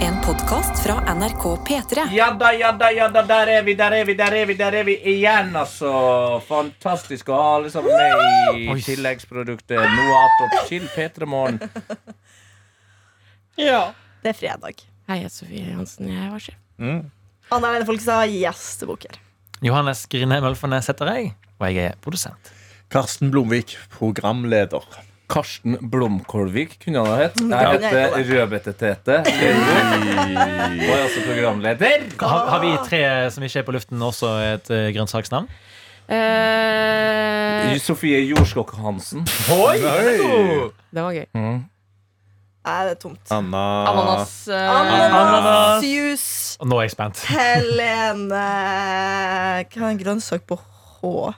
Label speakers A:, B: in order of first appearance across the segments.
A: En podkast fra NRK P3.
B: Ja da, ja da, ja da, der er vi, der er vi, der er vi, der er vi igjen, altså. Fantastisk å ha alle sammen med i tilleggsproduktet Noe attåt til P3morgen.
C: Det er fredag.
D: Hei, jeg er Sofie Hansen. Jeg var sjef.
C: Anna Lene Folk sa yes til boker.
E: Johannes Grine Mølfernes heter jeg, og jeg er produsent.
F: Karsten Blomvik, programleder.
B: Karsten Blomkålvik kunne han ha hett. Jeg
C: Mm. det er
B: heter Rødbette-Tete. Og er også
C: Eh.
B: programleder.
E: Har, har vi tre som ikke er på luften, også et eh, grønnsaksnavn?
D: Eh,
B: Sofie Jordskokk Hansen.
F: Oi!
D: det var gøy.
C: Nei, det er tomt.
F: Anna
D: Ananas. eh,
C: Ananas, juice,
E: Og nå er jeg spent.
C: Helene Hva er en grønnsak på H?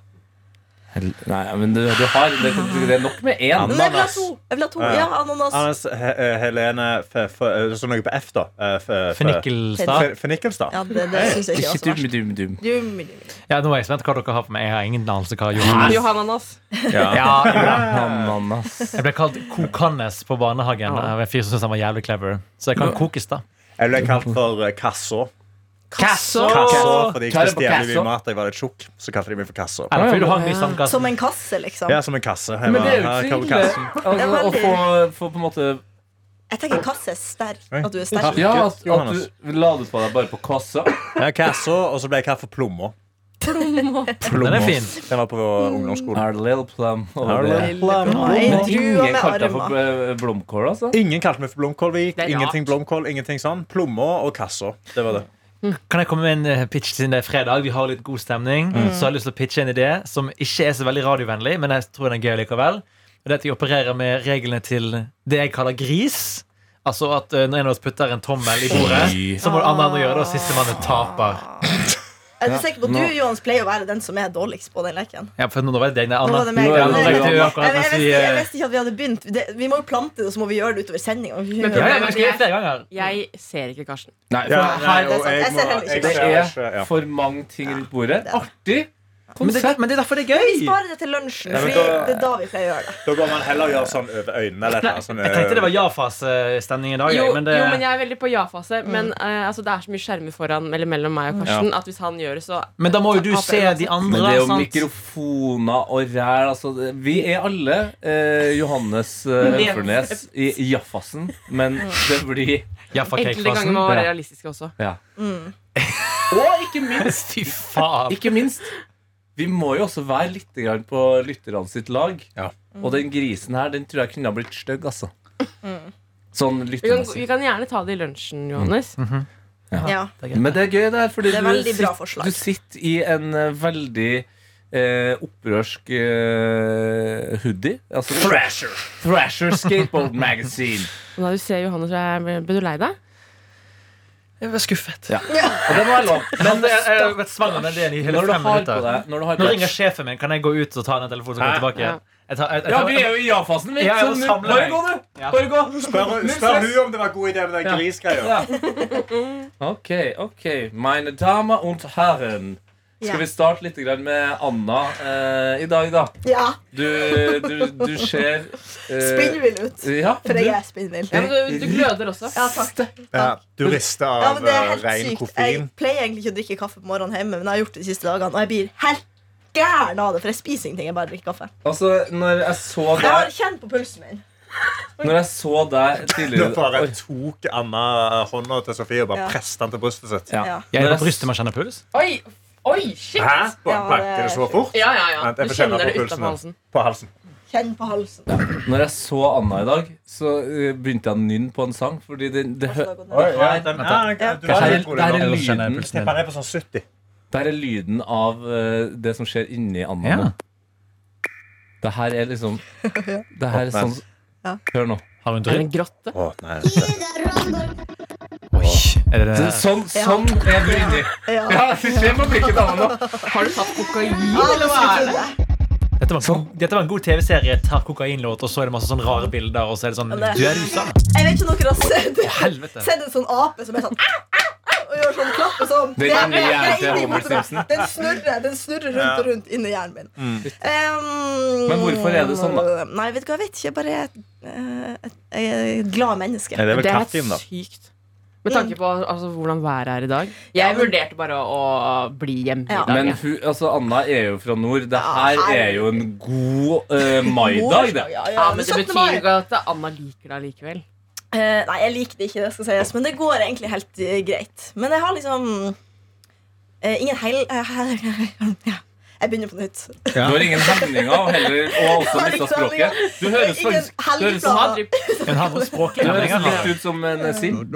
B: Nei, men du, du har det, det er nok med én.
C: Men jeg vil ha to. Jeg vil ha to.
F: Ja.
C: Ja, ananas.
F: Ananas, He eh, Helene F- F- eh, Det står noe på F, da. Eh, F- F-
E: Fennikelstad.
F: F- Fennikelstad.
C: Ja, det, det syns jeg ikke
B: Ikke
C: var så verst.
B: dum-dum-dum.
C: Dum, dum.
E: Ja, nå er jeg spent hva dere har på meg. Jeg har ingen anelse hva Johannes
D: Johannanas.
E: ja, jo da.
B: Ananas.
E: Jeg ble kalt Kokannes på barnehagen av en fyr som syntes han var jævlig clever. Så jeg kan kokes, da.
F: Jeg ble kalt for eh, Kasså.
E: Kasso!
F: Kasså fordi
B: Hva er det på
F: Kristi jævlig
B: Kasså?
F: mye mat. Jeg var litt tjukk, så kalte de meg for Kasså.
E: Er det fordi du hang i sandkassen?
C: Som en kasse, liksom.
F: Ja, som en kasse. Jeg
B: Men
F: var-
B: det er
F: her
B: jo
F: kommer
B: ikke
F: kassen.
B: så ille. Altså, å få, få på en måte
C: Jeg tenker kasse er sterk.
F: Oi.
C: At du er sterk.
B: Ja,
F: Gutt,
B: at, at
F: Johannes.
B: du ladet på deg bare på kassa.
F: Ja, Kasså, og så ble jeg kalt for Plomma.
E: Den er fin.
F: Den var på
C: Mm.
F: ungdomsskolen.
B: Our little plum over
F: Our
B: there.
F: little plum.
C: Plum. Nei,
B: Men
C: drua
B: Ingen
C: med
B: kalte deg
C: armer.
B: for eh, blomkål, altså.
F: Ingen kalte meg for Blomkålvik.
D: Det er rart.
F: Ingenting blomkål, ingenting sånn. Plomma og Kasså. Det var det.
E: Kan jeg komme med en eh, pitch siden det er fredag? Vi har litt god stemning.
B: Mm.
E: Så har jeg lyst til å pitche en idé som ikke er så veldig radiovennlig, men jeg tror den er gøy likevel. Det er at vi opererer med reglene til det jeg kaller gris. Altså at eh, når en av oss putter en tommel i bordet, så må den andre gjøre det, og sistemann taper.
C: Er du sikker på Du Johans, pleier å være den som er dårligst på den leken.
E: Ja, for nå var det deg, det er
C: Nå var
E: Anna.
C: det meg.
B: Nå er det
C: Anna.
E: Anna
C: Jeg,
E: rekte jo
C: jeg,
E: akkurat mens
C: visste,
E: vi
C: jeg
E: eh,
C: visste ikke at vi hadde begynt. Det, vi må jo plante det, og så må vi gjøre det utover sendinga.
E: ja, ja, men skal vi gjøre det flere ganger.
D: Jeg ser ikke Karsten.
B: Nei,
F: Ja,
B: for
F: nei,
C: det er
F: og
C: sant. Jeg ser
F: jeg må-
C: heller ikke
F: jeg
C: det.
B: det
F: ser ikke- ja.
B: er for mange ting rundt bordet.
C: det er det.
B: Artig
E: Men det,
B: konsept.
E: men det er derfor det er
C: Vi
E: gøy.
C: sparer det til lunsjen,
F: Ja, men
C: Fordi
F: da-
C: det er da vi pleier å gjøre det.
F: Da bør man heller gjøre sånn over øynene. Eller, et eller, annet, sånn,
E: Jeg tenkte det var ja-fase-stemning i dag.
D: Jo,
E: jeg, men det,
D: jo, men jeg er veldig på ja-fase. Men eh, altså, det er så mye skjermer foran Eller mellom meg og Karsten at hvis han gjør det, så
E: men da må jo du
D: taper
E: se
D: jeg uansett.
E: de andre.
B: Men det er jo
E: sant?
B: mikrofoner og ræl. Altså, det- vi er alle eh, Johannes eh,
D: Det-
B: Ølfernes i Jaffasen, men det blir
E: Jaffa
D: Enkelte ganger må
B: Ja.
D: man være realistiske også.
B: Ja. Og ikke minst,
E: Fy faen.
B: ikke minst Vi må jo også være litt grann på lytterne sitt lag.
F: Ja.
B: Og den grisen her, den tror jeg kunne ha blitt stygg, altså.
C: Mm.
B: Sånn
D: Vi kan,
B: lyttermessig.
D: vi kan gjerne ta det i lunsjen, Johannes.
C: Ja.
B: Men det er gøy, det her. Fordi
C: Det er
B: du,
C: veldig bra
B: sitter,
C: forslag.
B: du sitter i en eh, veldig eh, opprørsk eh, hoodie. Altså, Thrasher! Thrasher Skateboard Magazine.
D: Men da du ser Johannes, jeg ble du lei deg?
E: Jeg ble skuffet.
B: Og det må jeg lov.
E: Men det, jeg har vært svanger med det i hele
B: Når du
E: fem
B: har på
E: minutter.
B: deg når du har
E: Nå
B: på
E: ringer
B: deg-
E: sjefen min. Kan jeg gå ut og ta den telefonen? og
F: Hæ?
E: komme tilbake?
D: Ja.
E: Jeg tar, jeg, jeg
B: Ja,
E: tar,
B: vi er jo i ja-fasen, vi.
E: Ja, jeg
B: så
E: må
B: nå-
E: samle
B: Bare
E: meg.
B: gå, du.
E: Ja.
B: Bare gå.
F: Spør, spør hun om det var god idé med den
B: Ja.
F: grisgreia.
B: Ja. Ok, ok. Meine damer und herren. Skal
C: Ja.
B: vi starte litt grann med Anna eh, i dag, da?
C: ja.
B: Du, du, du ser eh,
C: Spinnvill ut.
B: Ja,
C: For
B: du,
C: jeg er spinnvill.
D: Ja, men du, du gløder også.
C: Ja, takk.
F: Ja, du rister
C: Ja,
F: av
C: men det er
F: eh,
C: helt
F: ren
C: sykt. Jeg
F: koffein.
C: pleier egentlig ikke å drikke kaffe på morgenen hjemme, men jeg har gjort det de siste dagene, og jeg blir helt gæren av det, for jeg spiser ingenting. Jeg bare drikker kaffe.
B: altså, når jeg så
C: Jeg har
B: deg
C: kjent på pulsen min.
B: Når jeg så deg
F: Nå
B: tidligere
F: bare tok Anna eh, hånda til Sofie og bare
C: Ja.
F: presset den til brystet sitt.
B: Ja.
C: Ja.
E: jeg
B: Når
E: er
B: jeg
E: på brystet man kjenner puls.
D: Oi, oi, shit!
F: Hæ? Ba-
C: Ja, det-
F: Banker det så fort?
D: Ja, ja, ja.
F: Vent, jeg
D: Du
F: får kjenne
D: kjenner
F: på
D: det
F: pulsen
D: utenfor
F: her.
D: halsen.
F: På halsen.
C: Kjenn på halsen.
B: Når jeg så Anna i dag, så eh, begynte jeg å nynne på en sang. Fordi det, det, hø-
C: Oi,
B: ja, den-
F: Du
B: det,
F: var
B: her,
F: litt god
B: det, her er
F: i nå.
E: Ellers kjenner jeg
B: lyden,
E: pulsen
F: Jeg
E: min.
F: bare er på sånn 70.
B: det her er lyden av eh, det som skjer inni Anna
E: Ja.
B: nå. Det her er liksom Det her er sånn
C: Ja.
B: Hør nå.
E: Har du en
D: Er det
E: drypp?
D: en grotte?
F: Å, nei. det-
E: Oi, er det
B: Det,
E: det?
B: sånn,
C: Ja.
B: sånn er du inni.
C: Ja.
B: Ja, det skjer på blikket til Anna nå.
D: Har du tatt kokain?
C: Alle skulle tro det.
E: Dette var, en god- dette var en god TV-serie. Tar kokainlåt, og så er det masse sånn rare bilder, og så er det sånn
C: Ja, det-
E: Du er rusa.
C: Jeg vet ikke om dere har sett
E: helvete.
C: Sett en sånn ape som er sånn au, au, og gjør sånn klapp og sånn.
B: Den inni
C: Det er-
B: hjernen til
C: det er inni
B: Homer
C: hodet mitt.
B: Simpson. Mm.
C: Den snurrer, den snurrer rundt og rundt inni hjernen min. Um,
B: Men hvorfor er det sånn, da?
C: Nei, vet du hva, jeg vet ikke. Jeg bare er et, eh, et, jeg er et glad menneske.
F: Nei, det er
D: Det
F: vel
D: er
F: kaffen, da.
D: sykt. Med tanke på altså, hvordan været er i dag. Jeg vurderte bare å å bli hjemme
C: Ja.
D: i dag.
B: Men
D: jeg.
B: hun, altså, Anna er jo fra nord. Det
C: Ja,
B: her
C: her-
B: er jo en god eh, maidag, det.
C: Ja,
D: Ja,
C: ja,
D: men
C: det
D: det
C: 17. mai.
D: betyr jo ikke at Anna liker deg likevel.
C: Eh, nei, jeg likte ikke det, skal sies, men det går egentlig helt eh, greit. Men jeg har liksom eh, ingen hel... ja. Jeg begynner på nytt.
B: Du har ingen hemninger og heller og har også mista språket. Du høres
C: Ingen
B: faktisk du høres,
D: Så
C: helgeplaner.
D: han har driv-
E: Men han har
B: du
E: språklig
B: høres
E: mening.
B: litt ut som en eh, Sim.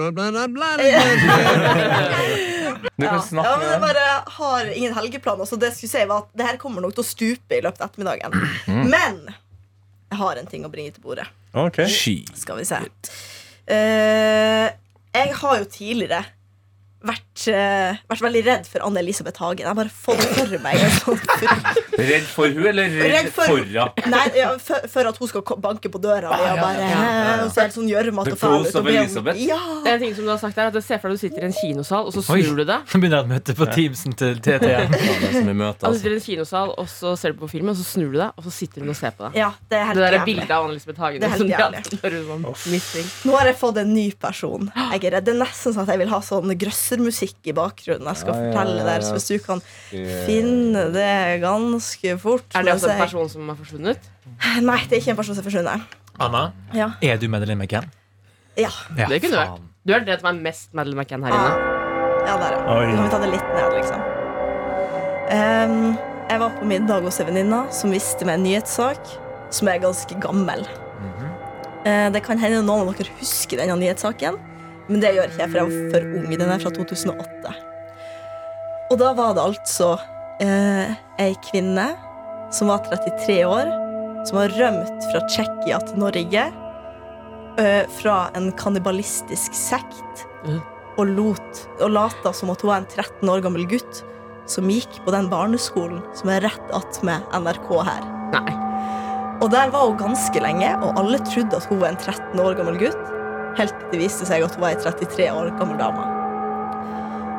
B: Du kan
C: Ja,
B: snakke
C: men jeg
B: med
C: bare har ingen helgeplaner, så det jeg skulle si var at det her kommer nok til å stupe i løpet av ettermiddagen. Men jeg har en ting å bringe til bordet.
F: Ok.
B: Ski.
C: Skal vi se. Eh, jeg har jo tidligere vært, eh, vært veldig redd for Anne-Elisabeth Hagen. Jeg har bare fått for meg en sånn fru.
B: Redd for hun eller redd
C: Redd for-
B: for henne?
C: Nei, ja, for, for at hun skal ko- banke på døra mi og bare eh, og så er det sånn gjørmete
B: The
C: og fæl
B: Pose
C: ut. og
B: of
C: be om-
B: Elisabeth.
C: Ja.
D: Det er en ting som du har sagt her, at jeg ser for deg at du sitter i en kinosal, og så
E: Oi.
D: snur du deg.
E: Nå begynner jeg et møte på Teamsen til TTN.
D: Du
B: altså.
D: sitter i en kinosal, og så ser du på film, og så snur du deg, og så sitter hun og ser på deg.
C: ja, det er helt
D: Det der er
C: jævlig.
D: bildet av Anne-Elisabeth Hagen.
C: Det er helt
D: som du har
C: jævlig.
D: hatt når hun var missing.
C: Nå har jeg fått en ny person. Jeg er redd. Det er nesten sånn at jeg vil ha sånn grøssermusikk i bakgrunnen. Jeg skal
B: Ja, ja,
C: fortelle
B: ja,
C: det her,
B: ja.
C: så hvis du kan finne det ganske fort
D: Er det
C: mens
D: også en
C: jeg-
D: person som har forsvunnet?
C: Nei, det er ikke en person som forsvinner.
E: Anna,
C: Ja.
E: er du medlem i Ken?
C: Ja,
E: Ja,
D: Det kunne du vært.
E: faen.
D: Du er det som er mest Madeleine McCann her
C: Ah.
D: inne.
C: ja der, ja.
F: Oi.
C: Nå må vi ta det litt ned, liksom. Ehm, jeg var på middag hos en venninne som viste meg en nyhetssak som er ganske gammel.
D: Mhm.
C: Eh, det kan hende noen av dere husker denne nyhetssaken, men det gjør ikke jeg, for jeg var for ung. Den er fra 2008. Og da var det altså eh, ei kvinne som var 33 år, som var rømt fra Tsjekkia til Norge eh, fra en kannibalistisk sekt
D: Mhm.
C: og, lot, og lata som at hun var en 13 år gammel gutt som gikk på den barneskolen som er rett attmed NRK her.
D: Nei.
C: Og der var hun ganske lenge, og alle trodde at hun var en 13 år gammel gutt. Helt til det viste seg at hun var ei 33 år gammel dame.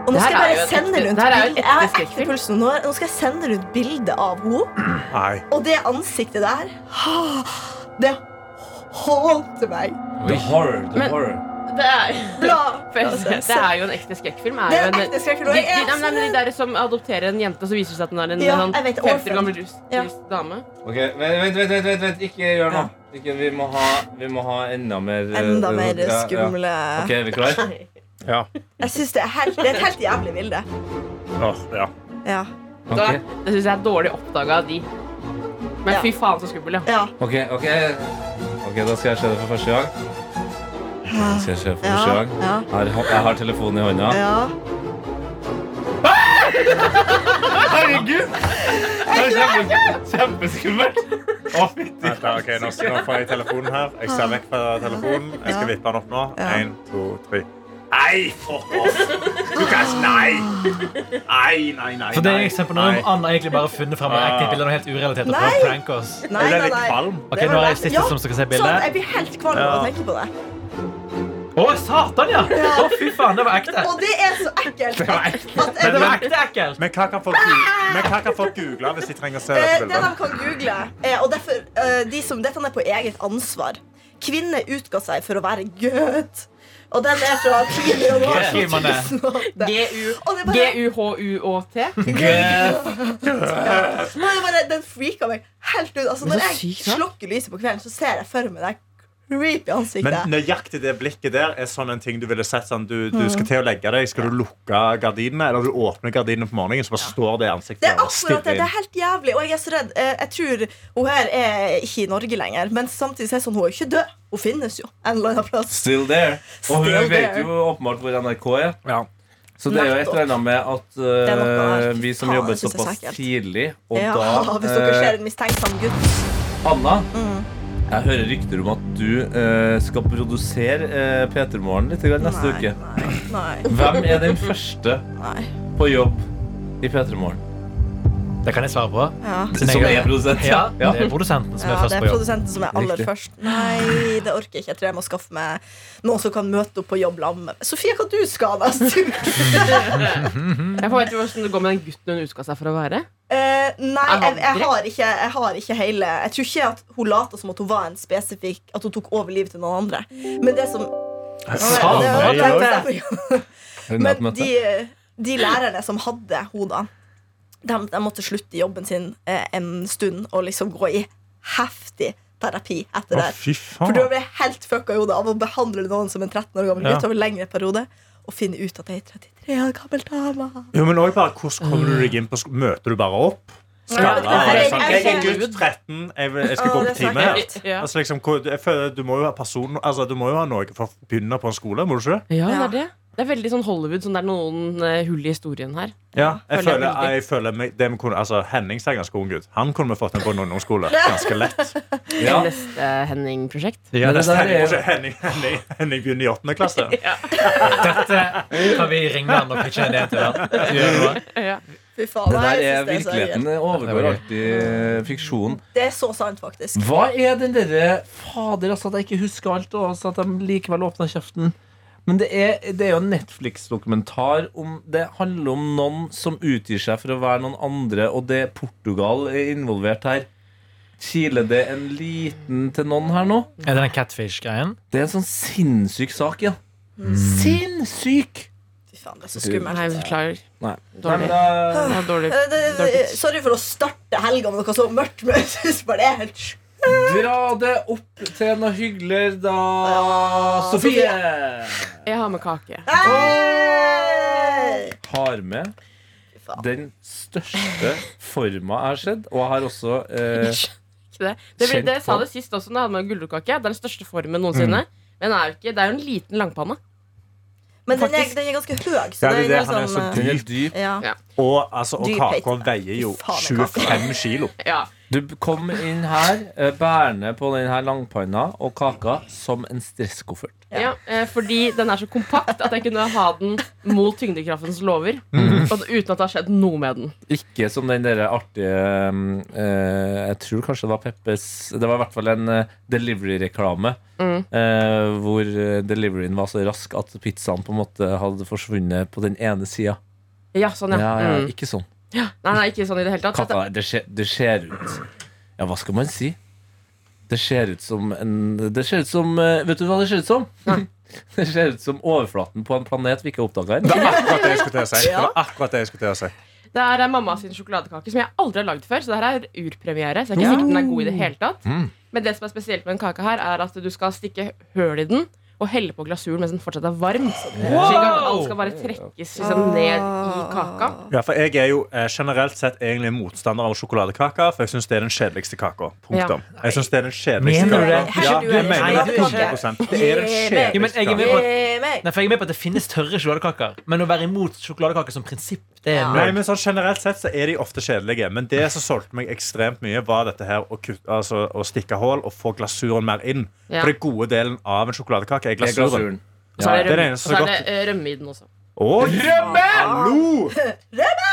C: Og nå
D: Det
C: skal jeg
D: her er
C: bare
D: jo et
C: sende
D: ekte-
C: rundt
D: det her er jo et
C: bildet- Jeg har
D: ekte skrekkfilm.
C: ekte puls nå. Nå- Nå skal jeg sende rundt bilde av henne,
F: Nei.
C: og det ansiktet der Det hånte meg.
B: The horror. The
D: Men-
B: horror.
D: Det er,
C: Bla,
D: for jeg ser- det er jo en ekte skrekkfilm. Er
C: Det
D: jo
C: er en
D: en,
C: ekte skrekkfilm,
D: de,
C: og
D: de,
C: jeg er
D: nei,
C: så
D: men de der som adopterer en jente, og så viser det seg at hun er en
C: Ja,
D: sånn
C: jeg vet,
D: 50 år
C: orphan.
D: gammel rus,
C: Ja.
D: rus dame.
B: Ok, Vent, vent, vent. vent, vent, vent. Ikke gjør noe. Ikke, vi, må ha, vi må ha enda mer eh,
C: Enda mer
B: ja, ja.
C: skumle
B: Ok, er vi klare?
F: Ja.
C: Jeg synes det er, helt, det er et helt jævlig bilde.
F: Åh, ja.
C: Ja.
D: Da,
B: Ok,
D: det syns jeg er dårlig oppdaga av de. Men
C: Ja.
D: fy faen, så skummel, ja.
C: ja.
B: ok, ok. Ok, Da skal jeg se det for første gang. Da Skal Jeg se det for første
C: Ja,
B: gang
C: ja.
B: Her, jeg har telefonen i hånda.
C: ja.
B: Herregud! Det er kjempe, kjempeskummelt. Å, fytti.
F: Vent da, ok, nå, skal- nå får jeg telefonen her. Jeg ser vekk fra telefonen. Jeg skal vippe den opp nå.
C: Ja.
F: Én, to, tre. Nei, fuck off! Du kan ikke Nei! Nei, nei, nei.
E: For det er
F: nei.
E: et eksempel nå
F: Nei.
E: om Anna egentlig bare har funnet fram et ekkelt bilde av noe helt urelatert. og prøver å
C: Nei.
E: pranke oss.
C: Nei,
F: Jeg ble
C: nei,
F: litt
C: nei.
F: kvalm.
E: Ok, nå er jeg siste
C: Ja,
E: som skal se
C: Sånn,
E: bildet.
C: jeg blir helt kvalm av å
F: Ja.
C: tenke på det.
E: Å, satan, ja! Å, fy faen, det var ekte.
C: Og det er så ekkelt. At, at
E: Men
C: jeg,
E: det var ekte ekkelt.
F: Men hva kan folk, gu- men hva kan folk google hvis de trenger å se
C: Eh,
F: dette
C: det de
F: bildet?
C: kan google, eh, og derfor, eh, de som, dette er på eget ansvar Kvinner utga seg for å være gøt. Og den er fra tidlig januar
E: Skriver man det?
C: 2008. Og det er bare-
D: G-u-h-u-å-t.
C: Nei, jeg bare, den freaka meg helt ut. Altså,
D: Men
C: når
D: så
C: jeg
D: sykt, da.
C: slukker lyset på kvelden, så ser jeg for meg det creepy
F: Men
C: ansiktet.
F: nøyaktig det blikket der er sånn en ting du ville sett. Sånn, du,
C: Mm.
F: du skal til å legge deg. Skal du lukke gardinene, eller du åpner gardinene på morgenen, så bare står det i ansiktet
C: Det er
F: der og
C: akkurat det.
F: stirrer
C: Det
F: inn.
C: er helt jævlig. Og jeg er så redd. Eh, Jeg tror hun her er ikke i Norge lenger, men samtidig så er det sånn, hun er jo ikke død. Hun finnes jo en eller annen plass.
B: Still there. Og
C: Still
B: hun vet
C: there.
B: jo åpenbart hvor NRK er. Så det er jo et eller annet med at
C: er noe
B: eh,
C: der.
B: vi som
C: Faen,
B: jobbet
C: jeg synes det er
B: såpass
C: så ekkelt.
B: tidlig, og
C: Ja, hvis
B: da
C: dere
B: eh,
C: ser en mistenksom gutt.
B: Anna,
C: Mm.
B: jeg hører rykter om at du eh, skal produsere eh, P3 Morgen litt grann neste
C: Nei,
B: uke.
C: nei,
B: Hvem er den første
C: nei.
B: på jobb i P3 Morgen?
E: Det kan jeg svare på.
C: Ja.
E: Siden
B: Som
E: jeg-
B: er produsent?
E: Ja, det er produsenten som
C: Ja,
E: er først
C: det er
E: på jobb.
C: produsenten som er aller
B: Riktig.
C: først. Nei, det orker jeg ikke. Jeg tror jeg må skaffe meg noen som kan møte opp på jobb sammen med meg. Sofie, hva du skal neste uke?
D: Jeg får vite hvordan det går med den gutten hun utga seg for å være.
C: Eh, nei,
D: Er han
C: jeg, jeg,
D: grei?
C: har ikke, jeg har ikke hele Jeg tror ikke at hun later som at hun var en spesifikk At hun tok over livet til noen andre. Men det som
E: Samme
C: Det var- det var-
E: gjør
C: Men de, eh, de lærerne som hadde hodene, de, de måtte slutte i jobben sin eh, en stund og liksom gå i heftig terapi etter det. her.
F: fy
C: For du
F: faen.
C: blir helt fucka i hodet av å behandle noen som en 13 år gammel
E: Ja.
C: gutt over en lengre periode og finne ut at ei 33 år gammel dame
F: Jo, men også bare, hvordan kommer du deg inn på sk- Møter du bare opp?
C: Mm. Ja, det-
F: Skalla?
C: det-
F: Sånn,
C: jeg-
F: Jeg er
C: jeg-
F: gutt 13. Jeg, vil, jeg skal
C: Å,
F: gå
C: det
F: på
C: er sånn- så
F: time her.
C: ekkelt.
D: Ja.
F: Altså, liksom, hvor- jeg føler, du, må jo ha person, altså, du må jo ha noe for å begynne på en skole, må du ikke?
D: Ja, det
C: Ja.
D: er det. Det er veldig sånn Hollywood, sånn det er noen eh, hull i historien her.
F: Ja,
D: Føler
F: jeg
D: jeg
F: føler,
D: veldig.
F: jeg føler meg, det vi kunne, altså, Henning ser ganske ung ut. Han kunne vi fått inn på en ungdomsskole. Ganske lett. altså,
B: Ja.
D: Neste Henning-prosjekt.
E: Ja,
B: Men det
E: det
B: der er
E: stemmer.
F: Henning,
B: jo-
F: Henning, Henning, Henning, Henning begynner i åttende klasse.
E: Dette kan vi ringe han og pitche en idé til. han. Gjør noe.
D: Ja.
C: Fy faen,
B: Det
C: nei,
B: der
C: jeg
B: er
C: synes det er så
B: virkeligheten.
C: gøy.
B: Det overgår alltid fiksjon.
C: Det er så sant, faktisk.
B: Hva er den derre Fader, altså, at jeg ikke husker alt, og altså, at de likevel åpner kjeften. Men det er, det er jo en Netflix-dokumentar om Det handler om noen som utgir seg for å være noen andre, og det er Portugal er involvert her. Kiler det en liten til noen her nå?
E: Er det den catfish-greien?
B: Det er en sånn sinnssyk sak, ja. Sinnssyk!
C: Fy faen, det er så
D: Nei,
C: skummelt.
D: beklager.
B: Nei. Men,
D: Dårlig. Det var dårlig.
C: Eh, det- det- Sorry for å starte helga med noe så mørkt, men jeg synes bare det er helt sjukt.
B: eh, dra det opp til noe hyggelig, da,
C: Ja,
B: Sofie!
D: Jeg har med kake.
C: Hey!
B: Har med
C: faen.
B: den største forma jeg har sett, og jeg har også eh,
D: Ikke det. Det, ble,
B: Kjent
D: det sa
B: på. Mm.
D: det sist også, da jeg hadde med gulrotkake. Det er den største formen noensinne. Men det er jo ikke, det er jo en liten langpanne.
C: Men den er,
D: Faktisk.
C: den er ganske høy. Så
F: Ja, det er
C: den er
F: det, han er så
C: sånn,
B: Den
C: eh,
F: dyr.
B: er dyp.
C: ja.
F: Og, altså, og
C: Dyr
F: kaka
C: pekte.
F: veier jo
C: Fy faen, er kaka.
F: 25 kilo.
D: Ja.
B: Du kom inn her eh, bærende på den her langpanna og kaka som en stresskoffert.
D: Ja. eh, fordi den er så kompakt at jeg kunne ha den mot tyngdekraftens lover.
B: Mm.
D: Og uten at det har skjedd noe med den.
B: Ikke som den derre artige mm, eh, Jeg tror kanskje det var Peppes Det var i hvert fall en eh, delivery-reklame eh, hvor eh, deliveryen var så rask at pizzaen på en måte hadde forsvunnet på den ene sida.
D: Ja, sånn,
B: Ja,
D: ja.
B: ja,
D: Mm.
B: ikke sånn.
D: Nei, nei, ikke sånn i det hele tatt. Så
B: Kaka, det, ser, det ser ut Ja, hva skal man si? Det ser ut som en Det ser ut som eh, Vet du hva det ser ut som? Det ser ut som overflaten på en planet vi ikke har oppdaga
F: Det
B: ennå.
F: var akkurat det jeg skulle til å si. Det var akkurat det jeg skulle til å si.
D: Det her er mamma sin sjokoladekake, som jeg aldri har lagd før. Så det her er urpremiere. Så jeg er ikke sikker den er god i det hele tatt.
B: Mm.
D: Men det som er spesielt med den kaka her, er at du skal stikke høl i den og helle på glasuren mens den fortsatt er varm. Slik at alt skal bare trekkes liksom, ned i kaka.
F: Ja, for jeg er jo eh, generelt sett egentlig en motstander av sjokoladekaka, for jeg syns det er den kjedeligste kaka. Punktum. Jeg synes det er den kjedeligste
E: Mener du det?
F: kaka. Ja,
C: Herregud,
F: det mener
E: Nei, du
F: jeg
E: er ikke.
F: 100 Det er den
E: Jo, men jeg er med
F: kjedeligste kaka.
E: på
C: Eh, meg.
E: Nei, for jeg er med på at det finnes tørre sjokoladekaker. Men å være imot sjokoladekaker som prinsipp, det er
F: Nei,
E: noe.
F: men sånn Generelt sett så er de ofte kjedelige, men det som solgte meg ekstremt mye, var dette her å, kutte, altså, å stikke hull og få glasuren mer inn.
D: Ja.
F: For den gode delen av en sjokoladekake er glasuren.
B: Glasuren.
D: Og så er
F: det er
D: det
F: det
D: rømme, og
F: eneste
D: så
F: som
D: er
F: er
D: det eh, rømme i den også.
F: Å, rømme! Hallo!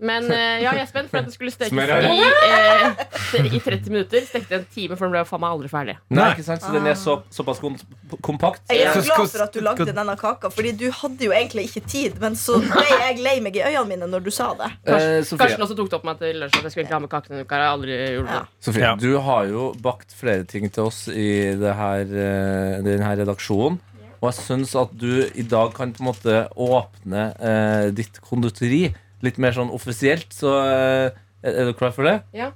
D: Men eh, ja, jeg er spent for at den skulle stekes i,
B: Smør her.
D: eh, i 30 minutter. Stekte en time, for den ble jo faen meg aldri ferdig.
B: Nei, ikke sant? Så den er så, såpass kom kompakt.
C: Jeg er så
E: Hvordan-
C: glad for at du lagde denne kaka, Fordi du hadde jo egentlig ikke tid. Men så ble jeg lei meg i øynene mine når du sa det.
B: Eh,
D: Karsten, Karsten
B: Sofie,
D: også tok det opp med meg til lunsj at jeg skulle egentlig ha med kake denne uka. Jeg har aldri gjort det.
B: Sofie
F: Ja.
B: du har jo bakt flere ting til oss i det her, eh, den her redaksjonen. Og jeg syns at du i dag kan på en måte åpne eh, ditt konditori litt mer sånn offisielt. Så eh, er er du klar for det?
D: Ja.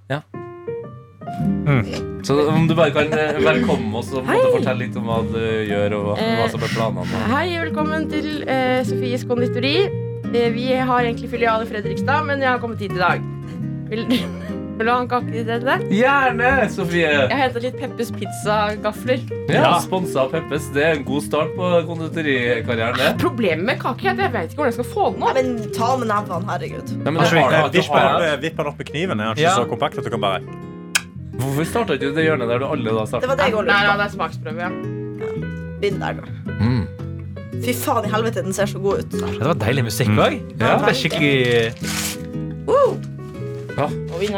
B: Så om du bare kan eh, velkomme oss og på en måte fortelle litt om hva du gjør, og hva, hva som er planene.
D: Eh, Hei, velkommen til eh, Sofies konditori. Eh, vi har egentlig filial i Fredrikstad, men jeg har kommet hit i dag. Vil, vil du ha en kake til dette?
B: Gjerne, Sofie!
D: Jeg har hentet litt Peppes pizzagafler.
B: Ja, Sponsa av Peppes. Det er en god start på konditorikarrieren. det.
D: Problemet med kaker er at jeg vet ikke hvordan jeg skal få den
C: Nei,
D: opp.
C: men ta med nevene, herregud.
B: Nei, men
F: Kanskje
B: du
F: vi
B: har
F: kan
B: det, du
F: Vipp
B: har
F: han
B: det.
F: opp- vipp han opp med kniven. Er han ikke
E: Ja.
F: så kompakt at du kan bare
B: Hvorfor starta ikke det hjørnet der du alle da
C: Det
B: starta?
C: var det jeg
D: Nei, nei,
C: lurte
D: det er smaksprøve. Ja.
C: på. Begynn der, da.
B: Mm.
C: Fy faen i helvete, den ser så god ut.
E: Det var deilig musikk òg.
C: Ja.
E: Mm. Det, er skikkelig-
C: Woo!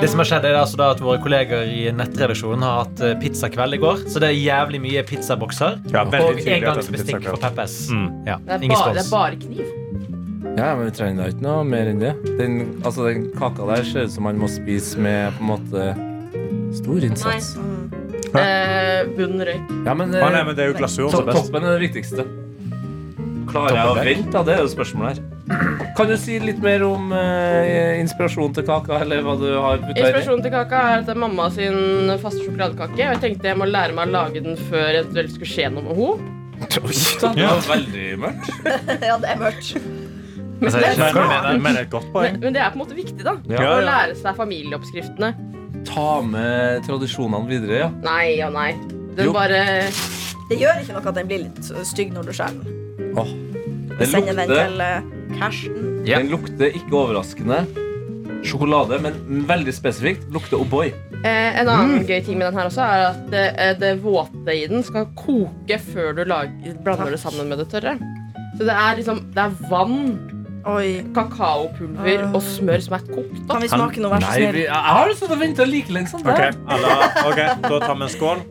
E: det som har skjedd, er altså da at våre kolleger i nettredaksjonen har hatt eh, pizzakveld i går. Så det er jævlig mye pizzabokser.
F: Ja, veldig
E: Og
F: tydelig at det er
E: engangsbestikk
F: pizzakveld.
E: fra Peppes.
F: Mm.
E: Ja,
D: Det er,
E: ingen
D: ba, det
E: spons.
D: er bare kniv.
B: Ja, men vi trenger da ikke noe mer enn det. Den, altså, den kaka der ser ut som man må spise med på en måte stor innsats.
C: Mm.
D: Eh, bunn røyk.
B: Ja, men, eh,
F: Å nei, men det er jo glasur som er best.
B: Toppen er det viktigste. Klarer jeg å vente? da? Det er jo spørsmålet her. Kan du si litt mer om eh, inspirasjonen til kaka, eller hva du har putta i?
D: Inspirasjonen til kaka er at det er mamma sin faste sjokoladekake. Og jeg tenkte jeg må lære meg å lage den før det eventuelt skulle skje noe med henne.
B: Det var veldig mørkt.
C: ja, det er mørkt.
E: Altså, jeg skjønner hva du
F: Men,
E: mener.
F: men et godt poeng.
D: Men, men det er på en måte viktig, da.
B: Ja.
D: Å lære seg familieoppskriftene.
B: Ta med tradisjonene videre, ja.
D: Nei og nei. Den
B: Jo.
D: bare
C: Det gjør ikke noe at den blir litt øh, stygg når du skjærer den.
B: Åh.
C: Vi
B: Den
C: sender den
B: lukter,
C: til øh, Karsten.
E: Ja.
B: den lukter ikke overraskende sjokolade, men veldig spesifikt lukter O'boy.
D: eh, En annen
B: Mm.
D: gøy ting med den her også er at det, eh, det våte i den skal koke før du lager, blander det sammen med det tørre. Så det er liksom Det er vann,
C: Oi.
D: kakaopulver
E: Ah.
D: og smør som er kokt
C: Kan
D: opp.
C: vi smake noe, vær så
B: Nei, vi,
C: snill?
B: jeg har stått og venta like lenge som
F: Ok,
B: deg.
F: alle, ok, Da tar vi en skål.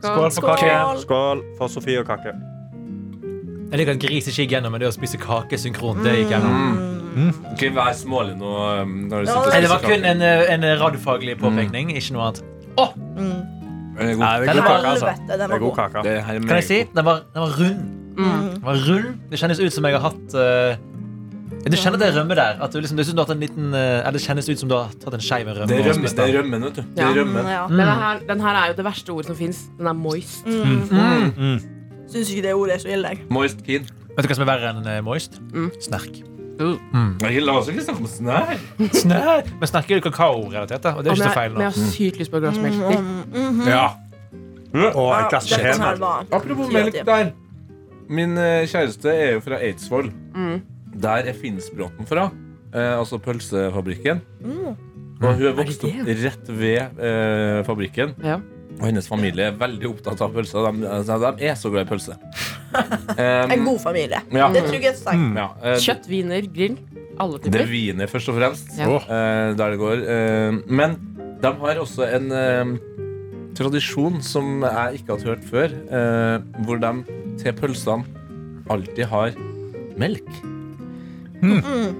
E: Skål for kake.
C: Skål.
F: Skål for Sofie og kake.
E: Jeg liker at gris ikke gikk gjennom, men det å spise kake synkront, det gikk gjennom.
B: Ikke vær smålig nå. um, Når du
C: Ja,
B: sitter
E: Nei,
B: og
E: det var
B: spiser
E: kun
B: kake.
E: en, eh, en radiofaglig påpekning, ikke noe annet.
B: Den er god.
E: det er god kake, altså.
C: Helvete, den
F: Det
C: var
F: er god
C: god.
F: kake.
B: Det her er
E: Kan jeg
B: meget
E: si? Den var, den var rund.
D: Mm.
E: Den var rund. Det kjennes ut som jeg har hatt eh, Du kjenner det rømme der. At du liksom, det, synes du har hatt en liten, eh, eller det kjennes ut som du har tatt en skei med rømme.
B: Det er
E: og
B: rømmen,
E: spist
B: det
E: den.
B: er rømmen vet du. Det
D: Ja.
B: er rømmen.
C: Ja.
F: Mm.
D: Men den her, den her er jo det verste ordet som fins. Den er moist.
C: Syns ikke det ordet er så ille. jeg.
B: Moist keen.
E: Vet du hva som er verre enn eh, moist? Snerk.
B: Jeg la oss ikke snakke om snær.
E: Snerk. Men snerk er jo kakao-relatert, da, og det er
D: Og
E: ikke så
D: men jeg,
E: feil
D: men
E: nå.
D: jeg har sykt lyst på et glass
C: Mm.
D: melk til.
F: Ja. Og
C: Ja,
F: et glass
C: dette
F: med
C: her var
B: Apropos
C: Ti av
B: melk
C: ti.
B: der. Min eh, kjæreste er jo fra Eidsvoll. Der er Finnsbråten fra. Eh, altså pølsefabrikken. Og hun er vokst opp rett ved eh, fabrikken.
D: Ja.
B: Og hennes familie er veldig opptatt av pølser. De, altså, de er så glad i pølse.
C: En
B: Um,
C: god familie.
B: ja.
C: Det er trygghetstegn.
F: Mm.
B: ja, eh,
D: Kjøtt, viner, grill. Alle
B: Det
D: typer.
B: viner først og fremst
D: Ja. Åh.
B: eh, Der det går eh, Men de har også en eh, tradisjon Som jeg ikke har hørt før eh, Hvor de til pølsene Altid har melk Mm.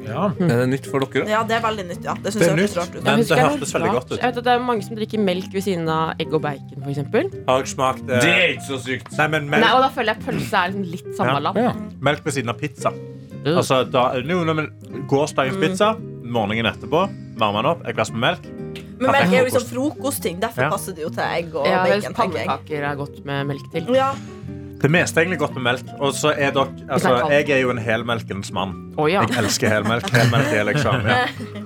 E: Ja.
B: Er det nytt for dere?
C: Ja, det er veldig nytt. Ja. Det
F: Det
C: syns
F: er
C: jeg
F: nytt,
C: hørtes rart ut.
D: Jeg
F: men
D: husker
F: det
D: jeg
F: hørtes
D: var
F: veldig
D: rart.
F: godt
D: Jeg
F: ut.
D: vet at det er mange som drikker melk ved siden av egg og bacon, for eksempel.
F: Har jeg smakt eh,
B: Det er ikke så sykt
F: Nei, men
D: Nei,
F: melk,
D: og da føler jeg pølse er liksom litt samme Mm.
F: Ja.
D: lapp.
B: ja.
F: melk ved siden av pizza. Altså, da, jo, nei, men
C: Mm.
F: Gårsdagens pizza, morgenen etterpå, varmer den opp, et glass med melk.
C: Men melk er jo liksom
F: Frokost.
C: frokostting. Derfor
F: Ja.
C: passer det jo til egg og
D: Ja, hvis
C: bacon. tenker jeg.
D: pannekaker er godt med melk til.
C: Ja,
F: Det meste er egentlig godt med melk. Og så er dere, altså,
D: Det er kaldt.
F: jeg er jo en helmelkens mann.
D: Å ja.
F: Jeg elsker helmelk. Helmelk er liksom ja.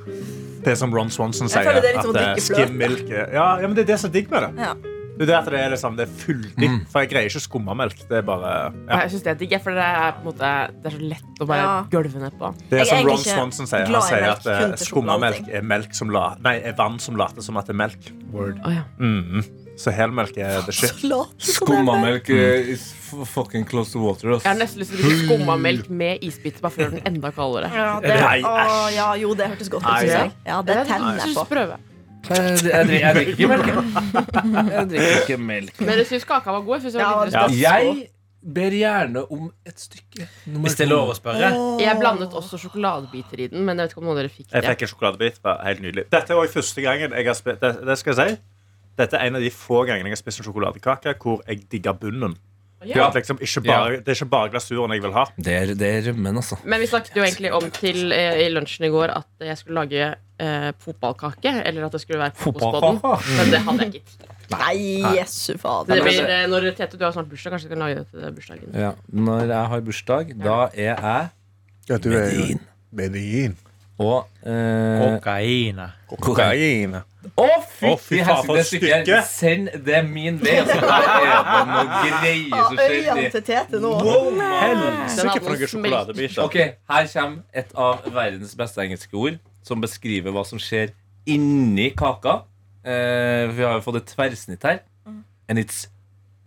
F: Det er som Ron Swanson sier.
C: føler det er litt som å
F: at, eh,
C: drikke fløte.
F: skim milk er- ja, ja, men det er det som er digg med det.
C: Ja.
F: Det er det at det er, liksom, det er fulldigg. For jeg greier ikke å skumme melk. Det er bare ja.
D: Jeg syns det er digg, for det er, på en måte, det er så lett å bare
C: Ja.
D: gølve nedpå.
F: Det
C: Jeg
F: er
C: er
F: som Ron
C: egentlig ikke
F: Swanson sier. Han
C: glad i
F: sier
C: melk,
F: at eh,
C: kun til
F: skummamelk
C: sjokoladeting.
F: er, melk som la, nei, er vann som later som at det er melk. Mm-hmm.
D: Å ja.
F: Så helmelk er the shit.
C: så lat som det er.
B: Skummamelk eh, is f- fucking close to water ass.
D: Jeg har nesten lyst til å drikke skumma melk med isbiter, bare for å gjøre den enda kaldere.
C: Ja, det,
F: Nei,
C: å,
F: æsj.
C: ja, jo, det hørtes godt ut.
F: Nei,
C: synes
F: ja.
C: jeg. Ja, det tenner jeg på.
D: prøve.
B: Eh, Jeg dri- jeg drikker ikke melk jeg. Jeg drikker ikke melk Altså.
D: Men jeg syns kaka var god. Jeg, synes det var litt
C: Ja,
D: interessant.
B: Jeg ber gjerne om et stykke nummer
E: Hvis det er
B: to.
E: lov å spørre.
D: jeg blandet også sjokoladebiter i den, men jeg vet ikke om noen av dere fikk
F: Jeg
D: det.
F: fikk en sjokoladebit. Det var helt nydelig. Dette er også første gangen jeg har spist det, det skal jeg si. Dette er en av de få gangene jeg har spist en sjokoladekake hvor jeg digger bunnen.
D: Ja.
F: At liksom ikke bare, Det er ikke bare glasuren jeg vil ha.
B: Det er, det er rømmen altså
D: Men vi snakket jo egentlig om til eh, i lunsjen i går at jeg skulle lage eh, fotballkake. Eller at det skulle være kokosbåten. Men det hadde jeg ikke. tid til.
C: Nei, jesu fader.
D: Det blir, eh, når Tete, du har snart bursdag, kanskje du kan lage det til bursdagen.
B: Ja, når jeg har bursdag, da er jeg
F: Ja, du
B: er jo- og eh,
E: Kokaine.
F: Kokain.
B: Å,
F: Å, fy
B: fytti
F: faen,
B: helsike,
F: for
B: det
F: et
B: stykket!
F: stykke!
B: her, Send det min vei! Altså, det er det noen greier som skjer
C: Øynene
B: inni.
C: til Tete nå.
D: Den
F: Helsike,
D: hadde
F: for noen
D: smelt.
F: sjokoladebiter.
B: Ok, Her kommer et av verdens beste engelske ord som beskriver hva som skjer inni kaka. Eh, vi har jo fått et tverrsnitt her.
C: Mm.
B: And it's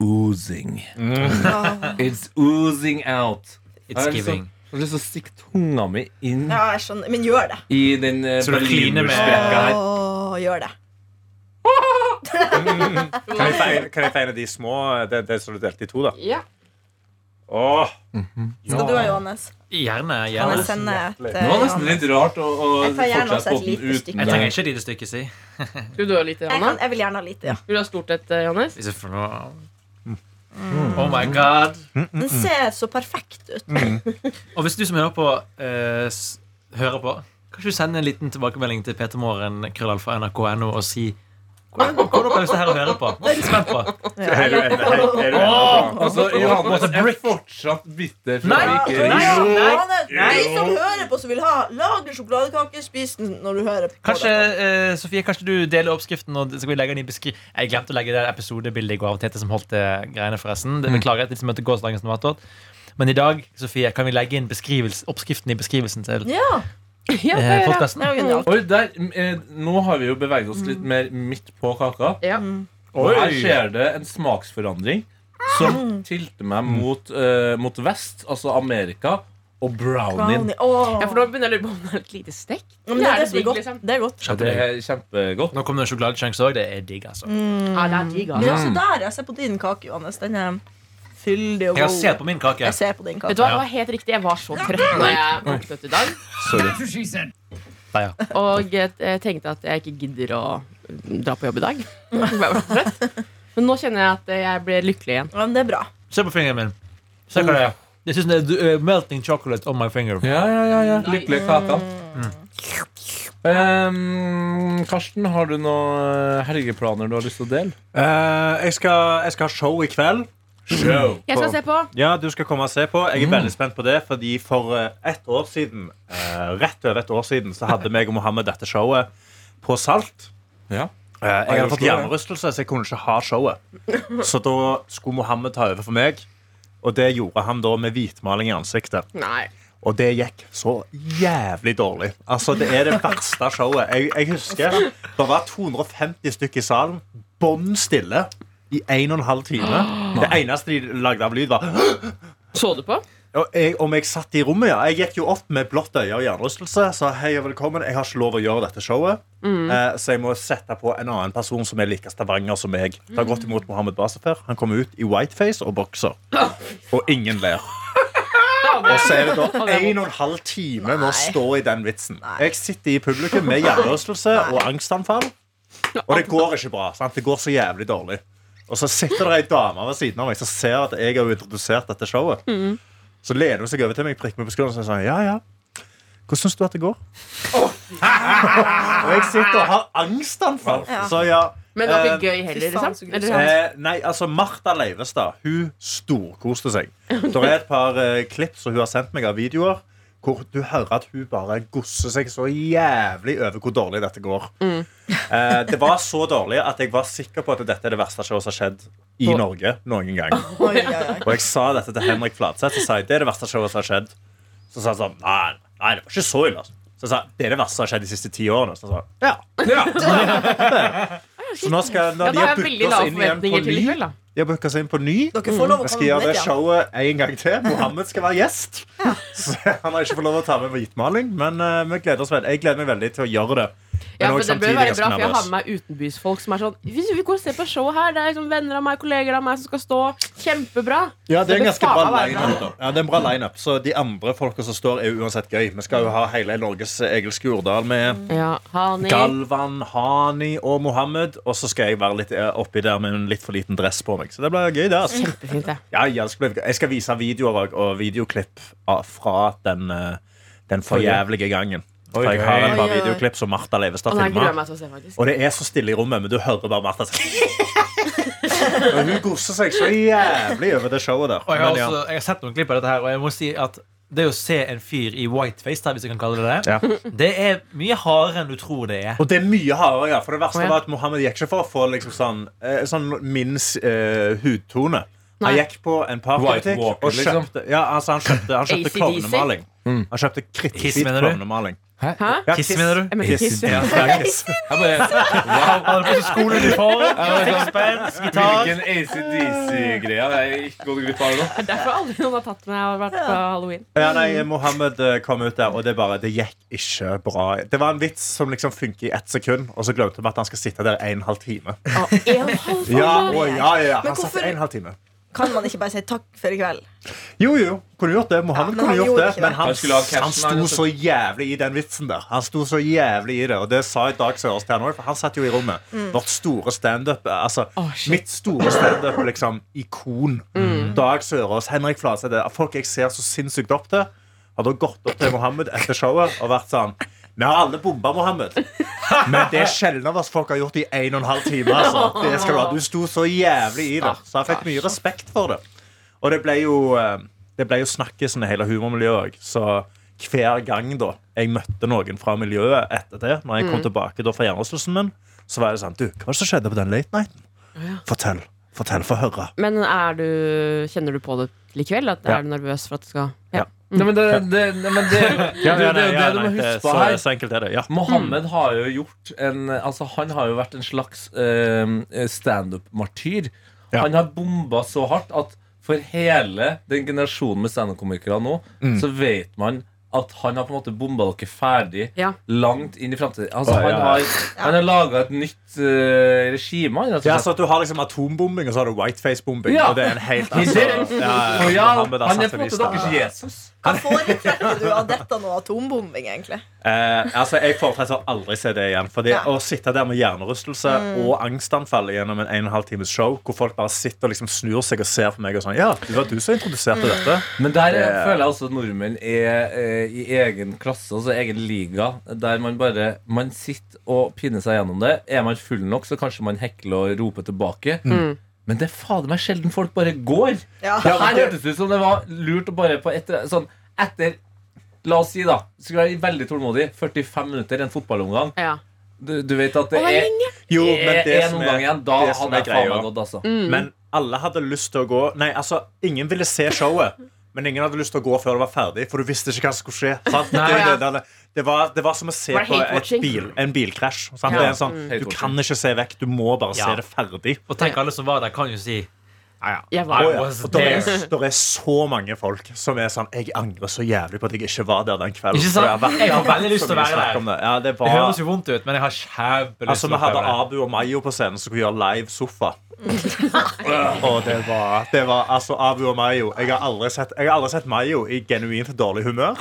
B: oozing.
C: Ja,
B: It's oozing out.
E: It's giving.
B: Jeg liksom har lyst til å stikke tunga mi inn
C: Ja, jeg skjønner. Men gjør det.
B: i den eh,
E: Så du kliner med-
B: berlinersprekka her.
C: Å, gjør det.
F: Kan jeg feire- kan jeg feire de små? Det, det som du delte i to, da.
D: Ja.
F: Åh,
C: Skal du ha, Johannes?
E: Gjerne.
C: Kan
E: gjerne
C: jeg sende et eh,
B: Det var nesten litt rart å, å
C: Jeg tar gjerne
B: fortsette
C: også
B: båten
C: et lite
B: uten
C: stykke.
E: Jeg trenger
B: deg.
E: ikke et lite stykke, si.
D: Skal du ha litt,
C: Jeg, kan,
D: Johanne?
C: jeg vil gjerne ha litt, ja.
D: Vil du ha stort et, eh, Johannes?
E: Hvis jeg får noe Oh my god.
C: Den ser så perfekt ut.
E: Og hvis du som hører på, eh, s- hører på Kanskje du sender en liten tilbakemelding til Peter Morgen krøllalfa nrk.no og si Hva hva har dere lyst til her å høre på? Hva er dere spent på?
F: er du enig? Er du enig?
B: Altså, Johannes er fortsatt bitter for at vi ikke
E: Nei,
C: Johannes,
E: nei,
C: De som hører på som vil ha, lag en sjokoladekake, spis den når du hører på.
E: Kanskje,
C: det.
E: eh, Sofie, kanskje du deler oppskriften og så skal vi legge den i beskri Jeg glemte å legge det episodebildet i går av Tete som holdt det greiene forresten Det beklager jeg, det som heter gårsdagens novatot Men i dag, Sofie, kan vi legge inn beskrivels- oppskriften i beskrivelsen til
C: Ja,
D: Ja,
E: eh, podcasten
C: det er jo genialt.
B: Oi, der, eh, nå har vi jo beveget oss
C: Mm.
B: litt mer midt på kaka.
D: Ja.
B: Og her skjer det en smaksforandring som
C: Mm.
B: tilter meg mot, eh, mot vest, altså Amerika, og brownien.
C: Brownie. Åh.
D: Ja, for nå begynner jeg å lure på om det er et lite stekk.
C: Ja, men det er det som er
D: digg,
C: godt.
D: liksom.
C: Det er godt.
B: Ja, det er kjempegodt.
E: Nå kommer det en sjokoladechunks også, det er digg altså
C: Mm.
D: Ja, det er digg,
C: Men
D: altså.
C: også der, jeg ser på din kake, Johannes. Den er fyldig og
E: Jeg har
C: god.
E: sett på min kake
C: Jeg ser på din
D: Vet
C: kake.
D: du hva, det var helt riktig. Jeg var så trøtt når jeg våknet i dag.
E: Nei, ja.
D: Og eh, jeg tenkte at jeg ikke gidder å dra på jobb i dag. Jeg var så trøtt. Men nå kjenner jeg at jeg blir lykkelig igjen.
C: Ja, men det er bra.
E: Se på fingeren min Se hva det er Jeg synes det er du- eh, melting chocolate on my finger
B: Ja, ja, ja. ja. Lykkelig
C: mm.
B: kaka.
E: Mm.
B: Ehm, Karsten, har du noen helgeplaner du har lyst til å dele?
F: Eh, jeg, skal, jeg skal ha show i kveld.
B: Show.
D: Jeg skal se på.
F: Ja, du skal komme og se på. Jeg er veldig spent på det, fordi for eh, ett år siden, eh, rett over et år siden, så hadde meg og Mohammed dette showet på Salt.
B: Ja.
F: Eh, jeg hadde fått
B: Oslo, ja.
F: hjernerystelse, så jeg kunne ikke ha showet. Så da skulle Mohammed ta over for meg, og det gjorde han da med hvitmaling i ansiktet.
D: Nei.
F: Og det gikk så jævlig dårlig. Altså, Det er det verste showet. Jeg, jeg husker det var 250 stykker i salen, bånn stille, i en og en halv time. Det eneste de lagde av lyd, var
D: Så du på?
F: og jeg, om jeg satt i rommet, ja. Jeg gikk jo opp med blått øye og hjernerystelse. Sa hei og velkommen. Jeg har ikke lov å gjøre dette showet. Eh, så jeg må sette på en annen person som er like Stavanger som meg. Det har gått imot Mohammed Basafer. Han kom ut i whiteface og bokser. Og ingen ler. Og så er det da en og en halv time med å stå i den vitsen. Jeg sitter i publikum med hjernerystelse og angstanfall, og det går ikke bra. Sant? Det går så jævlig dårlig. Og så sitter det ei dame ved siden av meg som ser at jeg har introdusert dette showet. Så lener hun seg over til meg, prikker meg på skulderen og sier sånn, ja, ja. Hvordan syns du at det går? og jeg sitter og har angstanfall.
C: Ja.
F: Så ja.
D: Men det var
F: eh,
D: ikke gøy heller,
C: fy faen, så
D: liksom?
C: gøy.
D: Eller,
F: Eh, nei, altså Martha Leivestad Hun storkoste seg. Det er et par eh, klipp som hun har sendt meg av videoer hvor du hører at hun bare gosser seg så jævlig over hvor dårlig dette går.
C: Mm.
F: Eh, det var så dårlig at jeg var sikker på at dette er det verste showet som har skjedd i
D: På-
F: Norge noen gang.
C: Oi, oi, oi.
F: Og jeg sa dette til Henrik Fladseth, så sa jeg det er det verste showet som har skjedd. Så sa han sånn Nei, nei det var ikke så ille. altså." Så jeg sa det er det verste som har skjedd de siste ti årene. Så sa han, ja. Så nå skal
D: ja,
F: når
D: da
F: de
D: har
F: har
D: jeg
F: booket
D: veldig
F: oss
D: lave
F: inn igjen på
D: forventninger til i
F: ny
D: kveld, da.
F: de har booka seg inn på ny.
C: Dere får lov å
F: Jeg Mm.
C: komme
F: skal gjøre
C: litt,
F: det
C: ja.
F: showet en gang til. Mohammed skal være gjest. Så han har ikke fått lov å ta med hvitmaling, men eh, vi gleder oss veldig. jeg gleder meg veldig til å gjøre det.
D: Ja,
F: Men
D: for
F: også
D: det bør
F: samtidig
D: være
F: ganske
D: bra, for jeg har med
F: nervøs.
D: meg utenbysfolk som er sånn Hvis vi går og ser på showet her, det er liksom venner av meg, kolleger av meg som skal stå. Kjempebra.
F: Ja, det er en
D: bør
F: ganske
D: faen
F: bra
D: meg være bra.
F: lineup. da. Ja, det er en bra lineup. Så de andre folka som står, er jo uansett gøy. Vi skal jo ha hele Norges Egil Skurdal med.
D: Ja, Hani.
F: Galvan, Hani og Mohammed. Og så skal jeg være litt eh, oppi der med en litt for liten dress på meg. Så det blir gøy, det. altså.
D: Kjempefint, det.
F: Ja, ja, det skal bli- jeg skal vise videoer og, og videoklipp av- fra den, eh, den forjævlige gangen. For jeg har et par
C: Oi, oi.
F: videoklipp som Martha Leivestad
D: Og den her gruer jeg
F: filma.
D: meg til å se, faktisk.
F: Og det er så stille i rommet, men du hører bare Martha si Og hun koser seg så jævlig over det showet der.
E: Og jeg har,
F: Men ja.
E: også, jeg har sett noen klipp av dette her, og jeg må si at det å se en fyr i whiteface, da, hvis jeg kan kalle det det,
F: Ja.
E: det er mye hardere enn du tror det er.
F: Og det er mye hardere, ja. For det
D: Å,
F: verste
D: ja.
F: var at Mohammed gikk ikke for å få liksom sånn, eh, sånn min eh, hudtone. Han
D: Nei.
F: gikk på en
B: White
F: partybutikk
B: Walker,
F: og
B: liksom.
F: kjøpte, ja, altså han kjøpte, han kjøpte
D: AC/DC.
F: klovnemaling. Han kjøpte
E: Mm. Kiss,
F: kritthvit
E: mener du?
F: klovnemaling.
D: Hæ?
F: Ja,
E: Kiss, mener du?
D: Jeg mener
B: Kiss.
D: kiss.
F: Ja, ja, kiss.
B: Jeg bare,
E: Han hadde på seg skoleuniform, sixpence, gitar.
B: Hvilken ACDC-greie har jeg ikke gått glipp av nå?
D: Det er derfor aldri noen har tatt meg og vært på halloween.
F: Ja, nei, Mohammed eh, kom ut der, og det bare, det gikk ikke bra. Det var en vits som liksom funker i ett sekund, og så glemte vi at han skal sitte der en halv time.
D: Å, en halv
F: Ja,
D: time.
F: å, ja, ja, ja.
C: Men
F: Han satt
C: hvorfor-
F: en halv time.
C: Kan man ikke bare si takk for i kveld?
F: Jo, jo, kunne gjort det.
C: Ja,
F: Mohammed
C: men
F: kunne
C: han
F: gjort
C: gjorde
F: det.
C: ikke det.
F: Men han,
B: Han skulle ha catchen,
F: han
B: han,
F: sto
B: altså.
F: så jævlig i den vitsen der. Han sto så jævlig i det, og det sa jeg Dag Sørås til han også, for han satt jo i rommet.
C: Mm.
F: Vårt store standup, altså
D: Å, shit.
F: mitt store standup, liksom, ikon.
C: Mm.
F: Dag Sørås, Henrik Fladseth, det er folk jeg ser så sinnssykt opp til, hadde gått opp til Mohammed etter showet og vært sånn vi har alle bomba Mohammed, men det er sjelden av oss folk har gjort i en og en halv time. Altså. Det skal du ha. Du sto så jævlig i det, så han fikk mye respekt for det. Og det ble jo, eh, det ble jo snakkesen i hele humormiljøet òg. Så hver gang da jeg møtte noen fra miljøet etter det, når jeg kom
B: Mm.
F: tilbake da fra hjernerystelsen min, så var det sånn Du, hva var det som skjedde på den late nighten? Fortell. Fortell, få høre.
D: Men er du, kjenner du på det likevel? At
F: Ja.
D: Er du nervøs for at det skal ja.
F: Ja.
B: Nei, men det, det, nei, men det, det, det, det, det du må huske på her
F: så enkelt er det. Ja.
B: Mohammed har jo gjort en Altså Han har jo vært en slags eh, standup-martyr.
F: Ja.
B: Han har bomba så hardt at for hele den generasjonen med standup-komikere nå,
F: Mm.
B: så vet man at han har på en måte bomba dere ferdig
D: Ja.
B: langt inn i framtiden. Altså,
F: Å, ja,
B: han
F: ja.
B: har, han har laga et nytt eh, regime. han, rett og
F: Ja,
B: slett.
F: så at du har liksom atombombing, og så har du whiteface-bombing.
B: Ja.
F: Og det er en helt
B: Helt
F: altså,
B: riktig. Og ja,
F: Mohammed har
B: han er
F: satt
B: på
F: en
B: en måte
F: vis der.
B: deres Jesus.
C: Hva foretrekker du av dette nå? Atombombing, egentlig?
F: Eh, altså, Jeg foretrekker å aldri se det igjen. Fordi
C: Ja.
F: Å sitte der med hjernerystelse og angstanfall gjennom en 1 12 times show, hvor folk bare sitter og liksom snur seg og ser på meg og sånn Ja, det var du som introduserte dette.
B: Men der eh,
F: Det-
B: føler jeg også at nordmenn er eh, i egen klasse, altså egen liga, der man bare Man sitter og pinner seg gjennom det. Er man full nok, så kanskje man hekler og roper tilbake.
F: Mm.
B: Men det er fader meg sjelden folk bare går.
C: Ja.
B: Det her hørtes ut som det var lurt å bare på etter, sånn etter La oss si, da. Skulle være veldig tålmodig. 45 minutter, en fotballomgang.
D: ja.
B: Du, du vet at det
D: Å, det er
B: er
F: Jo, men det
B: én
F: som
B: omgang
F: er,
B: igjen. Da
F: det som
B: hadde
F: er
B: jeg faen
F: greia.
B: meg gått, altså.
F: Men alle hadde lyst til å gå Nei, altså, ingen ville se showet. Men ingen hadde lyst til å gå før det var ferdig, for du visste ikke hva som skulle skje. Sant? Det, er jo det, det, det, det, var, det var som å se
D: Var det
F: på et
D: hate-watching?
F: bil, en bilkrasj. Sant?
D: Ja.
F: Det er en sånn,
B: Mm.
F: du kan ikke se vekk, du må bare
E: Ja.
F: se det ferdig.
E: Og tenk alle som var der, kan jo si ja, ja.
D: Jeg var
E: I
F: Å, ja.
E: was
F: Og
E: there.
F: der, er, der er så mange folk som er sånn Jeg angrer så jævlig på at jeg ikke var der den kvelden.
E: Ikke sant?
F: For det har vært
E: Jeg har veldig lyst
F: så
E: til å
F: mye
E: være
F: snakk
E: der.
F: om det. Ja, det
E: Det
F: var,
E: høres jo vondt ut, men jeg har kjempelyst
F: altså, vi hadde Abu og Mayo på scenen som kunne gjøre live sofa. og det var, det var altså Abu og Mayo. Jeg har aldri sett, jeg har aldri sett Mayo i genuint dårlig humør.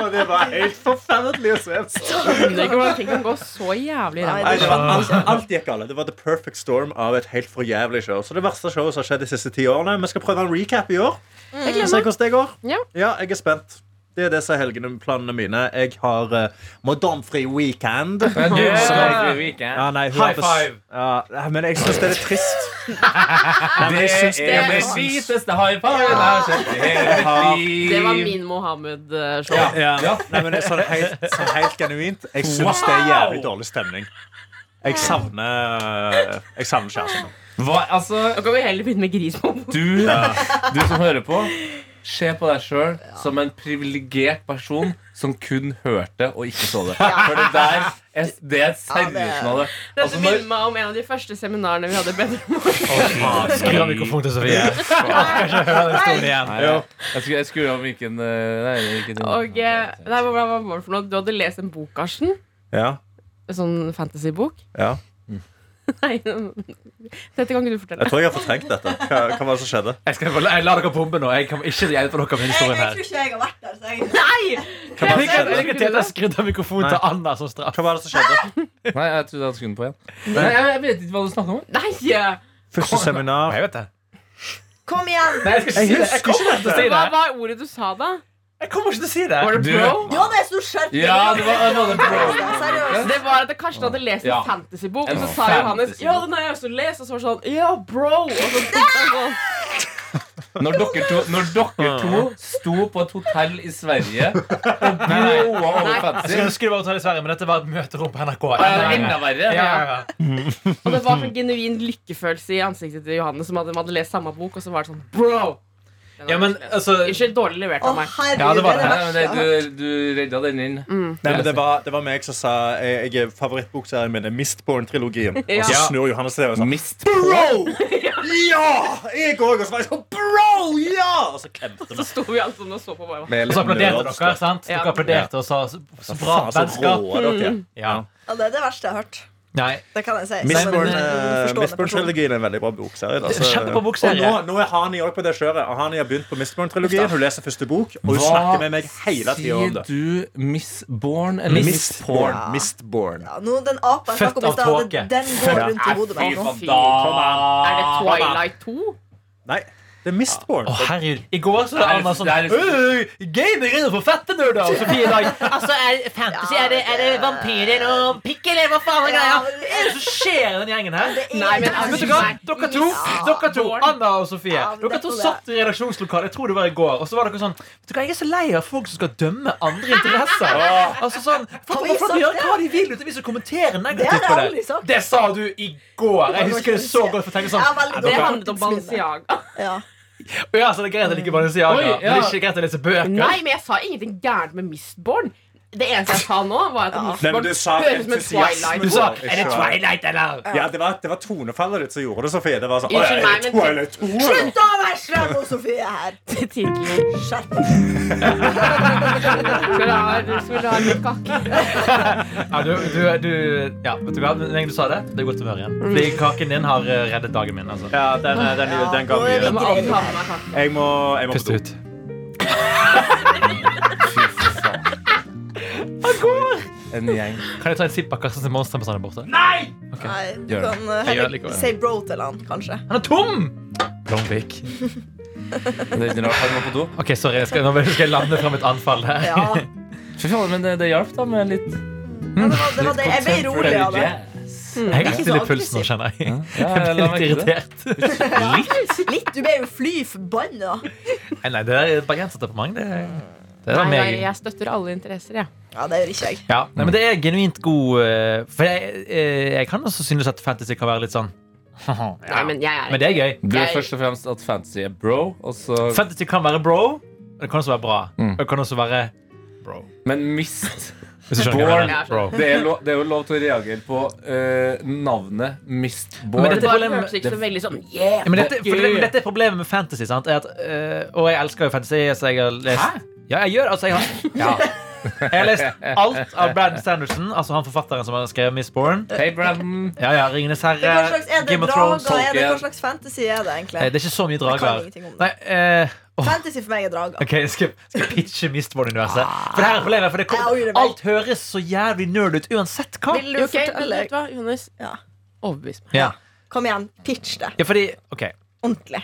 F: og det var helt forferdelig å se.
D: skjønner ikke hvordan ting kan gå så jævlig i ræva.
F: Nei, det var alt, alt gikk galt. Det var the perfect storm av et helt for jævlig show. Så det verste showet som har skjedd de siste ti årene. Vi skal prøve en recap i år.
D: Jeg
F: Se
D: glemmer.
F: hvordan det går.
D: Ja.
F: jeg er spent. Det er det som er helgene planene mine. Jeg har uh, Madamfri weekend.
B: Men du,
E: Yeah.
B: som er i Vik, eh,
F: Ja, nei, hun
E: High
F: har bes-
E: five.
F: Ja, nei, men jeg syns det er litt trist.
B: Det
F: syns det
B: er
F: er
B: det
F: sant.
B: hviteste high five jeg har sett i hele
F: Ja.
B: mitt liv.
D: Det var min Mohammed-show.
B: Ja. Ja.
F: Nei, men det er sånn helt, sånn helt genuint. Jeg syns det er jævlig dårlig stemning. Jeg savner Jeg savner kjæresten.
B: Hva, altså,
D: Da kan vi heller begynne med gris på
B: du, du som hører på, se på deg sjøl som en privilegert person som kun hørte og ikke så det. For det der er, det er seriøsen av det.
D: Dette
B: Altså, når-
D: minner meg om en av de første seminarene vi hadde i Bedre
E: Skru av mikrofonen til Sofie. Jeg kan ikke høre den stolen igjen.
B: Nei, jeg- jeg skulle- Jeg skulle om hvilken eh, Nei, hvilken
D: Og eh, nei, hva hva var det for noe? Du hadde lest en bok, Karsten?
F: Ja,
D: En sånn fantasybok?
F: ja.
D: Nei, dette kan ikke du fortelle.
F: Jeg tror jeg har fortrengt dette. Hva, hva var det som skjedde?
E: Jeg, skal, jeg lar dere pumpe nå. Jeg kommer ikke til å hjelpe dere med historien her.
C: ikke jeg har vært der. Så jeg...
D: Nei!
F: Hva var det som skjedde?
E: Jeg kan tete skrudd av mikrofonen til Anna som straff.
F: Hva var det som skjedde?
B: Nei, jeg trodde jeg hadde skudd på igjen. Nei, jeg, jeg vet ikke hva du snakker om.
D: Nei! Hva
F: Første seminar.
E: Jeg vet det.
C: Kom igjen!
E: Nei, jeg skal ikke si det. Jeg kommer ikke til å si det.
D: var ordet du sa da?
E: Jeg kommer ikke til å si det.
D: Var det
B: Du-
D: pro?
C: Du hadde en stor skjerp.
B: Ja, det var, det var det bro.
C: Seriøst.
D: Det var at Karsten hadde lest en
B: Ja.
D: fantasybok, og
B: En
D: så sa Johannes
B: fantasybok.
D: Ja, den har jeg også lest, og så var det sånn Ja, bro! Og så tok han sånn
B: Når dere to, når dere to sto på et hotell i Sverige og broa over
E: Jeg skulle
B: fancy
E: ønske det var Hotel i Sverige, men dette var et møterom på NRK.
B: Enda verre.
E: Ja, ja, ja.
D: Og det var sånn genuin lykkefølelse i ansiktet til Johannes, som hadde, hadde lest samme bok, og så var det sånn Bro! Den
E: ja,
D: var
E: men
D: slem.
E: altså
D: Unnskyld, dårlig levert
C: Å,
D: av meg.
C: herregud,
E: Ja, det var
C: det
B: Nei,
E: det. Mm.
B: men
C: verste jeg har hørt.
B: det, du, du redda den inn.
F: Nei, men det, var, det var meg som sa Jeg, jeg er favorittbokserien min er Mistborn-trilogien. Og så
E: Ja.
F: snur Johannes seg og sånn
B: Mist
F: Bro! Ja! Jeg òg. Og så var jeg sånn Bro! Ja! Og så klemte vi.
D: Så sto vi alle sånn og så på hverandre.
E: Og så applauderte dere, sant?
D: Ja.
E: Dere applauderte og sa så så bra
F: Faen, så
E: vennskap.
F: rå dere.
E: Ja.
C: Ja, det er det verste jeg har hørt.
E: Nei.
C: Det kan jeg si. som en,
F: Mistborn,
C: eh,
F: eh,
C: forstående person.
F: Mistborn-trilogien er en veldig bra bokserie. da, så-
E: Kjempebra
F: Og
E: bokserie.
F: nå, nå er Hani også på det kjøret. Hani har begynt på Mistborn-trilogien. Hun leser første bok, og hun
B: Hva
F: snakker med meg hele tida om det.
B: Sier du Miss Born eller Miss Porn?
F: Mistborn. Mistborn.
C: Ja, nå, den apa jeg
E: Født
C: snakket om i
E: av
C: stad,
E: tåke.
C: den- den går rundt i hodet mitt nå.
D: fy
B: Da-
D: Er det Twilight 2?
F: Nei, det er Mistborn.
E: Å, herregud. I går så var det
B: Det er-
E: Anna sånn
B: det er-
E: «Øy, Gaming er jo for fette nerder! Og Sofie i dag Altså, er fantasy? Er det, er det vampyrer og pikk, eller hva faen er greia? Hva er det som skjer i den gjengen her?
D: Nei, men
E: altså,
C: altså,
E: Vet du hva? Dere to, dere to
D: Bård.
E: Anna og Sofie,
C: Ja, men
E: dere
C: det
E: to
C: tror jeg.
E: satt i redaksjonslokalet, jeg tror det var i går, og så var dere sånn Vet du hva, jeg er så lei av folk som skal dømme andre interesser. Altså sånn, Folk
C: vi
E: må folk
C: sagt
E: gjøre
C: det?
E: hva de vil uten at vi skal kommentere
C: Det har
E: negativt
C: jeg
E: på
C: aldri
E: det.
C: sagt.
E: Det sa du i går. Jeg husker det så godt. for å tenke sånn
C: Jeg er veldig
E: «Nei,
C: dårlig
D: Det
E: dere-
D: handlet om Balenciaga.
C: Ja.
E: Ja, så det er greit at det ikke er Balenciaga,
D: Oi, ja.
E: men det er ikke greit å lese bøker.
D: Nei, men jeg sa ingenting gærent med Mistborn. Det eneste jeg sa nå, var at
F: Nei, men
D: Mistborn
F: du sa
D: høres ut som en
F: entusiasme.
E: Du
D: Twilight.
E: sa 'Er det Twilight', eller?
F: Ja, det var, det var tonefallet ditt som gjorde det, Sofie. Det var sånn,
D: Unnskyld
F: «Å, ja, er det
D: meg, men-
F: Twilight 2, eller?»
C: Slutt å være slem mot Sofie her!
D: Tittelen.
C: Skjerp deg.
D: Skal du ha- skal du ha litt kake?
E: Ja, du, du, du, ja, vet du hva? Med en gang du sa det, det er godt å høre
C: Mm.
E: igjen. Fordi kaken din har eh, reddet dagen min. altså.
F: Ja, den, den, den, den ga
C: nå er
F: mye.
C: vi
D: Jeg må alltid ha med meg kake.
F: Jeg må, jeg må på
E: Pust
F: do.
E: ut.
B: En gjeng.
E: Kan jeg ta en sipp av kassen til monsteren på sånn der borte?
C: Nei, du
B: Gjør det.
E: Jeg
C: kan eh,
E: gjør
C: heller
E: likevel.
C: si bro til han, kanskje.
E: Han er tom! Blomvik.
B: Det er ikke rart han må på do.
E: Ok, sorry. Jeg skal, nå skal jeg lande fram et anfall her.
C: Ja,
B: Fy faen, men det, det hjalp, da, med litt sånn
C: men det var, det, var det. Jeg ble rolig av det.
E: Jeg
C: Ikke
E: er
C: så
E: litt pulsen nå,
C: aggressiv.
E: kjenner jeg.
B: Ja,
E: Jeg
B: la
E: ble litt
B: meg ikke det.
E: irritert.
C: Litt, du ble jo fly forbanna.
E: Nei, nei, det er bergenserdepartement. Det, er- det er
D: Nei, nei,
E: meg.
D: jeg støtter alle interesser, jeg.
C: Ja, det gjør ikke jeg.
E: Ja, nei, men det er genuint god eh, For jeg, eh, jeg kan også synes at fantasy kan være litt sånn
D: Nei, men jeg er
E: Men det er gøy.
B: Du er
D: Jeg-
B: først og fremst at fantasy er bro, og så
E: Fantasy kan være bro, og det kan også være bra.
B: Mm.
E: Og det kan også være
B: Men mist
E: Hvis du skjønner hva jeg
B: Born.
E: mener. Bro.
B: Det er, lov, det er jo lov til å reagere på eh, navnet Mist Born.
E: Men
D: Det
E: dette-
D: bare
E: problemet-
D: høres ikke så veldig sånn yeah,
E: Ja, men dette,
D: fuck
E: for det,
D: you.
E: dette er problemet med fantasy. Sant? Er at, eh, og jeg elsker jo fantasy. Så jeg har lest,
B: Hæ?
E: Ja, jeg gjør altså, jeg har, jeg har lest alt av Brad Sanderson, altså han forfatteren som har skrevet Miss Born.
B: Hei, Brandon.
E: Ja, ja, Ringenes
C: Men Hva
E: herre,
C: slags er det
E: Game of
C: drager?
E: Thrones.
C: Er det,
B: Tolkien.
C: hva slags fantasy er det,
E: Eh,
C: egentlig?
E: Det er ikke så mye
C: Jeg kan
E: drager.
C: ingenting om det.
E: Nei, eh, åh,
C: Fantasy for meg er drager.
E: Ok, jeg skal, skal jeg pitche Mistborn-universet.
C: Ah.
E: For det her er problemet, for det
C: Jeg angrer
E: kommer,
C: meg.
E: alt høres så jævlig nerd ut uansett hva.
D: Vil du
C: Jo,
D: okay,
C: fortell.
D: Vet du hva, Jonas?
C: Ja.
D: Overbevis meg.
E: Ja,
C: Kom igjen, pitch det.
E: ja fordi, ok
C: Ordentlig.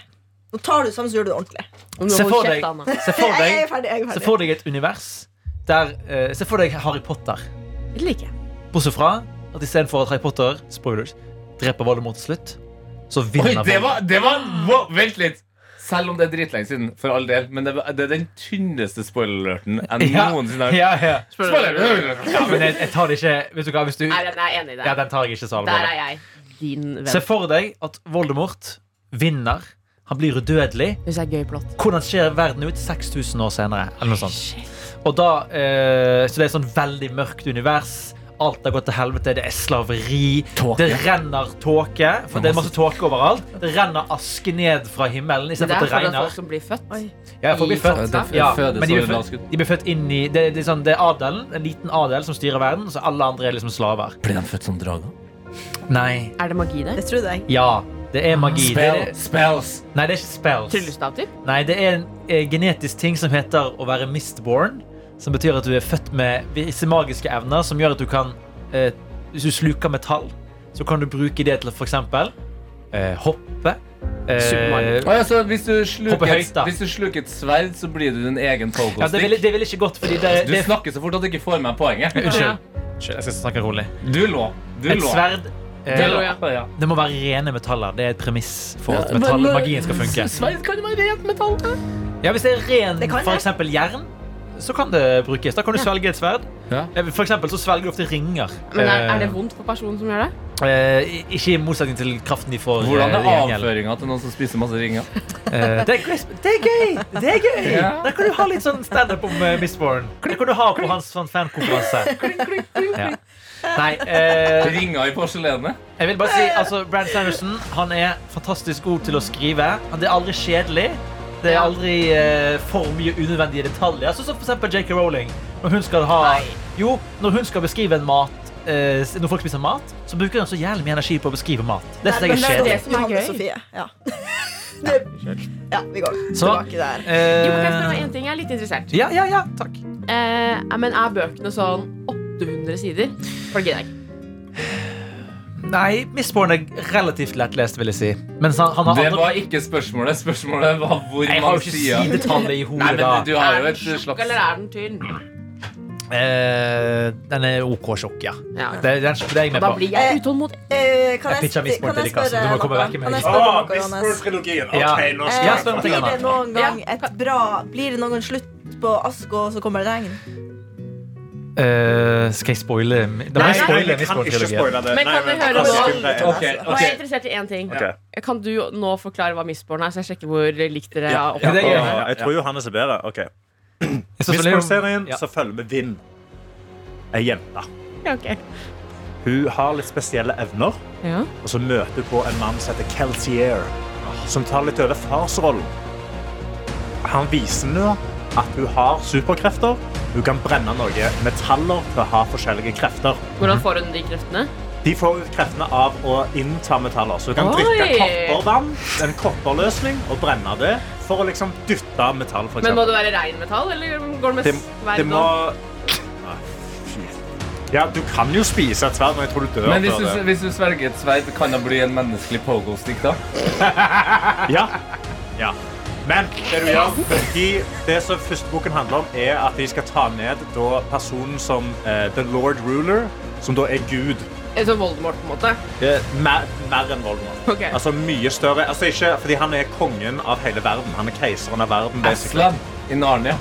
C: Nå tar du sammen, så gjør du det ordentlig.
D: Nå
E: Se
D: hold
E: for
D: kjeft,
E: deg-
D: Anna.
E: Se for
C: Jeg, jeg
E: deg
C: er ferdig. Jeg er
E: Se
C: ferdig.
E: for deg et univers der eh, Se for deg Harry Potter.
D: Det liker jeg.
E: Bortsett fra at istedenfor at Harry Potter spoilers, dreper Voldemort til slutt, så
B: Oi,
E: vinner
B: det
E: Voldemort.
B: var, det var wow, Vent litt. Selv om det er dritlenge siden, for all del. Men det, var- det er den tynneste spoiler-alerten jeg
E: Ja,
B: noensinne har hørt.
E: ja, ja.
B: Spoiler!
E: ja, men jeg, jeg tar det ikke Vet du hva, hvis du
D: Nei, den er enig i
E: Ja,
D: deg.
E: den tar jeg ikke så
D: Der
E: alvorlig.
D: er jeg din
E: Se
D: venn.
E: for deg at Voldemort vinner. Han blir udødelig.
D: Hvis jeg er gøy plott.
E: Hvordan ser verden ut 6000 år senere? Eller noe sånt.
D: Shit.
E: Og da, eh, så det er sånn veldig mørkt univers. Alt har gått til helvete. Det er slaveri.
B: Tåke.
E: Det renner tåke. For det er masse tåke overalt. Det renner aske ned fra himmelen
D: Men Det
E: istedenfor
D: er
E: at det
D: for at folk
E: regner.
D: som blir født.
C: Oi.
E: Ja, folk blir født.
B: Det er
E: Ja,
B: fødes
E: men de blir
B: over
E: født,
B: landskudd.
E: de blir født inn i det, det, er sånn, det er adelen, en liten adel som styrer verden, så alle andre er liksom slaver.
B: Blir de født som drager?
E: Nei.
D: Er det magi der?
C: Det trodde jeg.
E: Ja. Det er magi. Det er,
B: Spells.
E: nei, det er ikke spells.
D: Tryllestav, typ?
E: Nei, det er en eh, genetisk ting som heter å være mistborn. Som betyr at du er født med visse magiske evner som gjør at du kan eh, Hvis du sluker metall, så kan du bruke det til å for eksempel eh, hoppe. Eh,
D: Superman.
B: Å ja, så hvis, du
E: Hoppe
B: sluker,
E: høyt, da.
B: hvis du sluker et sverd, så blir du din egen
E: ja, det ville
B: togo-stick.
E: vil ikke gått, fordi det,
B: Du
E: det
B: snakker så fort at du ikke får med poenget.
E: Unnskyld. Unnskyld, Jeg skal snakke rolig.
B: Du lå. Du
E: Et
B: lå.
E: sverd
B: Du lå,
E: eh,
D: ja.
B: ja.
E: Det må være rene metaller. Det er et premiss for at
B: Ja, men,
E: metall,
B: eh,
E: magien skal funke.
B: Sverd kan jo være rent metall. da.
E: Ja, Hvis det er ren
C: Det kan
E: for
C: det.
E: eksempel jern, så kan det brukes. Da kan du svelge et sverd.
B: Ja.
E: Eh, For eksempel så svelger du ofte ringer.
D: Men er,
E: Eh,
D: er det vondt for personen som gjør det?
E: Eh, i- ikke i motsetning til kraften de får.
B: Hvordan
E: eh,
B: er
E: i gjengjeld.
B: avføringa til noen som spiser masse ringer?
E: Eh, det, er crisp. det er gøy! Det er gøy.
B: Ja.
E: Der kan du ha litt sånn standup om eh, Miss Warren. Det kan du ha på hans sånn fankonferanse. Ja. Nei, eh,
B: Ringer i porselenet?
E: jeg vil bare si altså, Brad Sanderson han er fantastisk god til å skrive. Han- Det er aldri kjedelig. Det er
D: Ja.
E: aldri eh, for mye unødvendige detaljer. Sånn som for eksempel J.K. Rowling. Når hun skal ha Jo, når hun skal beskrive en mat eh, når folk spiser mat, så bruker de så jævlig mye energi på å beskrive mat. Det synes jeg
D: men
E: er
D: det er
E: kjedelig.
D: det som er
C: Johanne
D: gøy.
C: Sofie. Ja. Det, ja, vi går
E: Så-
C: tilbake der.
E: Eh,
D: Jo, men jeg spør om en ting jeg er litt interessert.
E: ja, ja, ja, takk.
D: Eh, men er bøkene sånn 800 sider? For det gidder jeg ikke.
E: Nei, Mistborn er relativt lettlest, vil jeg si. Mens han, han har
B: Det
E: andre-
B: var ikke spørsmålet. Spørsmålet var hvor
E: Jeg har
B: mange
E: jo ikke
B: sider.
E: sidetallet
B: Nei,
E: i hodet, da.
B: men du har
D: Er
B: jo
D: den
B: et
D: tjukk,
B: slags
D: eller er den tynn?
E: Eh, den er OK tjukk, ja.
D: Ja.
E: Det, det, er- det er jeg med
D: Da
E: på.
D: blir jeg utålmodig.
C: Eh, kan
E: Jeg
C: jeg,
E: pitcher
C: kan jeg
E: Miss Morten til
C: spørre
E: Rikardsen. Du må komme
C: noe?
E: vekk med
C: Kan jeg
E: meg.
C: spørre
F: Ah,
C: noe, Johannes? Eh,
F: Whisper-trilogien.
E: Ja.
F: Ok, nå
E: Ja,
F: skal
E: spør om
F: jeg
E: ting
C: Blir det
E: annet.
C: noen gang
D: Ja.
C: et bra Blir det noen gang slutt på Ask, og så kommer det regn?
E: Eh, skal jeg spoile Da må
D: Nei,
E: jeg spoile
D: nei,
F: jeg kan ikke
E: Mistborn-trilogien.
F: spoile det.
D: Men
F: Nei,
D: kan vi
F: jeg
D: høre
F: kan
D: nå?
F: ikke spoile det.
B: Ok,
D: Og jeg er
B: ok
D: interessert i én ting.
F: Ok.
D: Kan du nå forklare hva Mistborn er, så jeg sjekker hvor likt dere
F: Ja,
D: er
E: Ja, det er
D: oppe?
E: gøy.
F: Åh, Jeg tror Johannes er bedre. Ok.
E: Jeg synes det er-
F: Mistborn-serien
E: Ja. Ah,
F: så følger vi Vind. Ei jente.
D: Ja, ok.
F: Hun har litt spesielle evner,
D: Ja.
F: og så møter hun på en mann som heter Kelsier, som tar litt over farsrollen. Han viser nå at hun har superkrefter. Hun kan brenne noe metaller til å ha forskjellige krefter.
D: Hvordan får hun de kreftene?
F: De får kreftene av å innta metaller. Så du kan drikke
D: Oi!
F: koppervann, en kopperløsning, og brenne det for å liksom dytte metall, for
D: Men må
F: eksempel.
D: det være reinmetall, eller går det med
F: Det, det
D: sverd
F: må
D: og
F: Nei, fy. Ja, du kan jo spise et sverd, men jeg tror du dør
B: Men hvis
F: før
B: du,
F: det.
B: hvis du sverger et sverd, kan det bli en menneskelig pogo-stick, da?
F: Ja. ja. Men det du gjør de, Det som første boken handler om, er at de skal ta ned da personen som eh, The Lord Ruler, som da er Gud.
D: En sånn Voldemort, på en måte?
F: Det er Eh, mer, mer enn Voldemort.
D: Ok.
F: Altså mye større. Altså ikke, fordi han er kongen av hele verden. Han er keiseren av verden. basically.
B: Aslan i Narnia.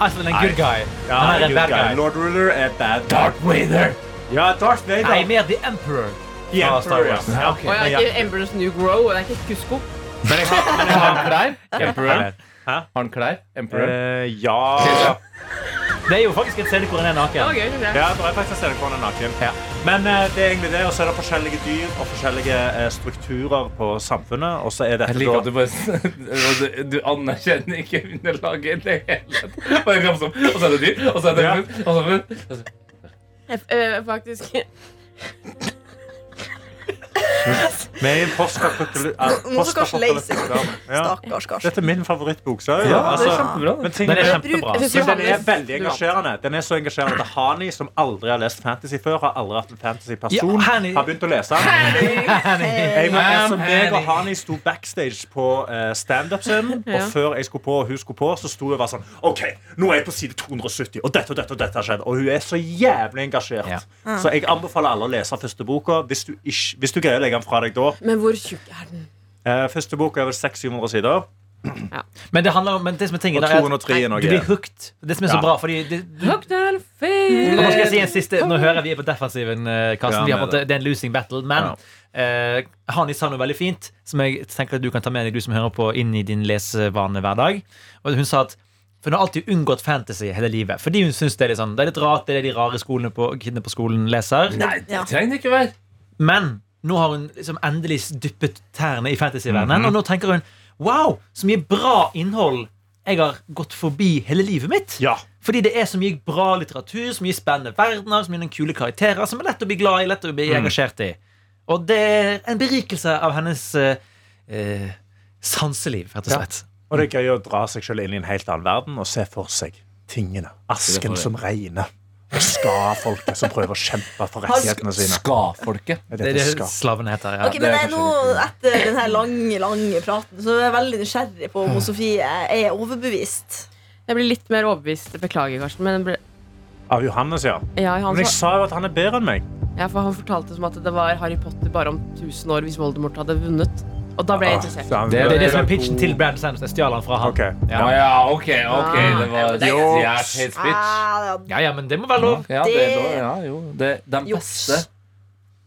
E: Aslan er en good guy.
F: Ja,
E: Han er en
F: good
E: bad
F: guy.
E: guy.
F: Lord Ruler er bad.
B: Darth Vader.
F: Ja, Darth Vader.
E: Nei, mer The Emperor.
F: The
E: fra
F: Emperor,
E: Star Wars.
F: ja.
E: Ja, ok.
D: Og jeg
F: men
D: er ikke Embers New Grow, og det er ikke Kusko.
F: Men jeg har, men jeg
B: Har
F: har,
B: han klær? Emperor.
E: Nei,
B: Har han klær? Emperor.
F: Eh, ja.
E: Det er jo faktisk en scene hvor han er
D: Det var
E: naken.
D: gøy, synes jeg.
F: Ja, det er faktisk en CDK-en er naken.
E: Ja.
F: Men eh, det er egentlig det, og så er det forskjellige dyr og forskjellige eh, strukturer på samfunnet. Og så er dette
B: Jeg liker
F: da-
B: at du bare s- du, du anerkjenner ikke underlaget i det hele tatt. Bare kom sånn, Og så er det dyr, og så er det
F: Ja.
B: hund, og så er det hund. og så-
D: F- eh, faktisk.
F: Vi er i en postkapitali- eh,
C: Nå skal Karsten leie seg.
F: postkapitalistisk- Ja.
C: Stakkars
F: Dette
C: Karsten.
F: er min favorittbok. Ja,
B: Ja, det er
F: altså,
B: kjempebra.
F: men ting
E: Den er
F: er
E: kjempebra.
D: Jeg synes
F: men Altså, den er
D: Johannes,
F: veldig
D: du vant.
F: engasjerende. Den er så engasjerende at Hani, som aldri har lest fantasy før, har aldri vært en
E: Ja,
F: fantasy-person,
E: Hani-
F: har begynt å lese den. Jeg var jeg som
E: Enig.
F: meg og Hani sto backstage på eh, standup-scenen. Og før jeg skulle på, og hun skulle på, så sto jeg og var sånn OK, nå er jeg på side 270, og dette og dette og dette har skjedd. Og hun er så jævlig engasjert.
E: Ja.
F: Så jeg anbefaler alle å lese første boka. Hvis du, ikke, hvis du greier å legge den fra deg da.
D: Men hvor tjukk er den?
F: Eh, første boka er vel 600-700 sider,
E: Men det handler om Men det som er tingen,
F: og
E: da, er at
F: 203 i
E: du
F: Norge.
E: blir hooked. Det som er så
F: Ja.
E: bra, fordi det, du
D: Lockdown fail.
E: Nå skal jeg si en siste Nå hører jeg vi er på defensiven, eh, Karsten.
F: Ja,
E: Vi har på en
F: vi er
E: måte, det er en losing battle. Men eh, Hani sa noe veldig fint, som jeg tenker at du kan ta med deg, du som hører på, inn i din lesevane hver dag. Og hun sa at for hun har alltid unngått fantasy hele livet. Fordi hun syns det er litt sånn Det er litt rart, det er det de rare skolene på, kidene på skolen leser.
B: Nei,
C: Ja.
B: det trenger det ikke være.
E: Men nå har hun liksom endelig dyppet tærne i fantasyverdenen,
F: Mhm.
E: og nå tenker hun Wow, så mye bra innhold jeg har gått forbi hele livet mitt.
F: Ja.
E: Fordi det er så mye bra litteratur, så mye spennende verdener, så mye kule karakterer som er lett å bli glad i, lett å
F: Mm.
E: bli engasjert i. Og det er en berikelse av hennes eh, eh, sanseliv, rett og slett.
F: Og det er gøy å dra seg selv inn i en helt annen verden og se for seg tingene. Asken som regner. Og ska-folket som prøver å kjempe for rettighetene sine.
B: Ska-folket.
F: Er
E: Det
F: dette
E: er det
F: ska?
E: slaven heter. Ja.
C: Ok, men
B: det er
C: jeg, nå, Etter denne lange lange praten Så er jeg veldig nysgjerrig på
E: Mm.
C: om Sofie er overbevist.
D: Jeg blir litt mer overbevist. Beklager, Karsten. Men jeg ble,
F: Av Johannes, ja.
D: ja, han,
F: Men jeg
D: sa-
F: sa jo at han er bedre enn meg.
D: ja, for han fortalte som at det var Harry Potter bare om 1000 år hvis Voldemort hadde vunnet. Og da ble jeg interessert.
F: Ah,
E: Det er det som
B: god.
E: er pitchen til Brandon Sanderson. Jeg stjal han fra han.
F: Ok.
E: Ja.
B: Å ja, Ah. OK, ok. Det var
D: det er-
B: Yes, hate speech.
C: Ah,
E: Ja, ja, men det må være lov.
B: Ja, det er lov. Ja, jo. Det, de
C: Juks.
B: beste,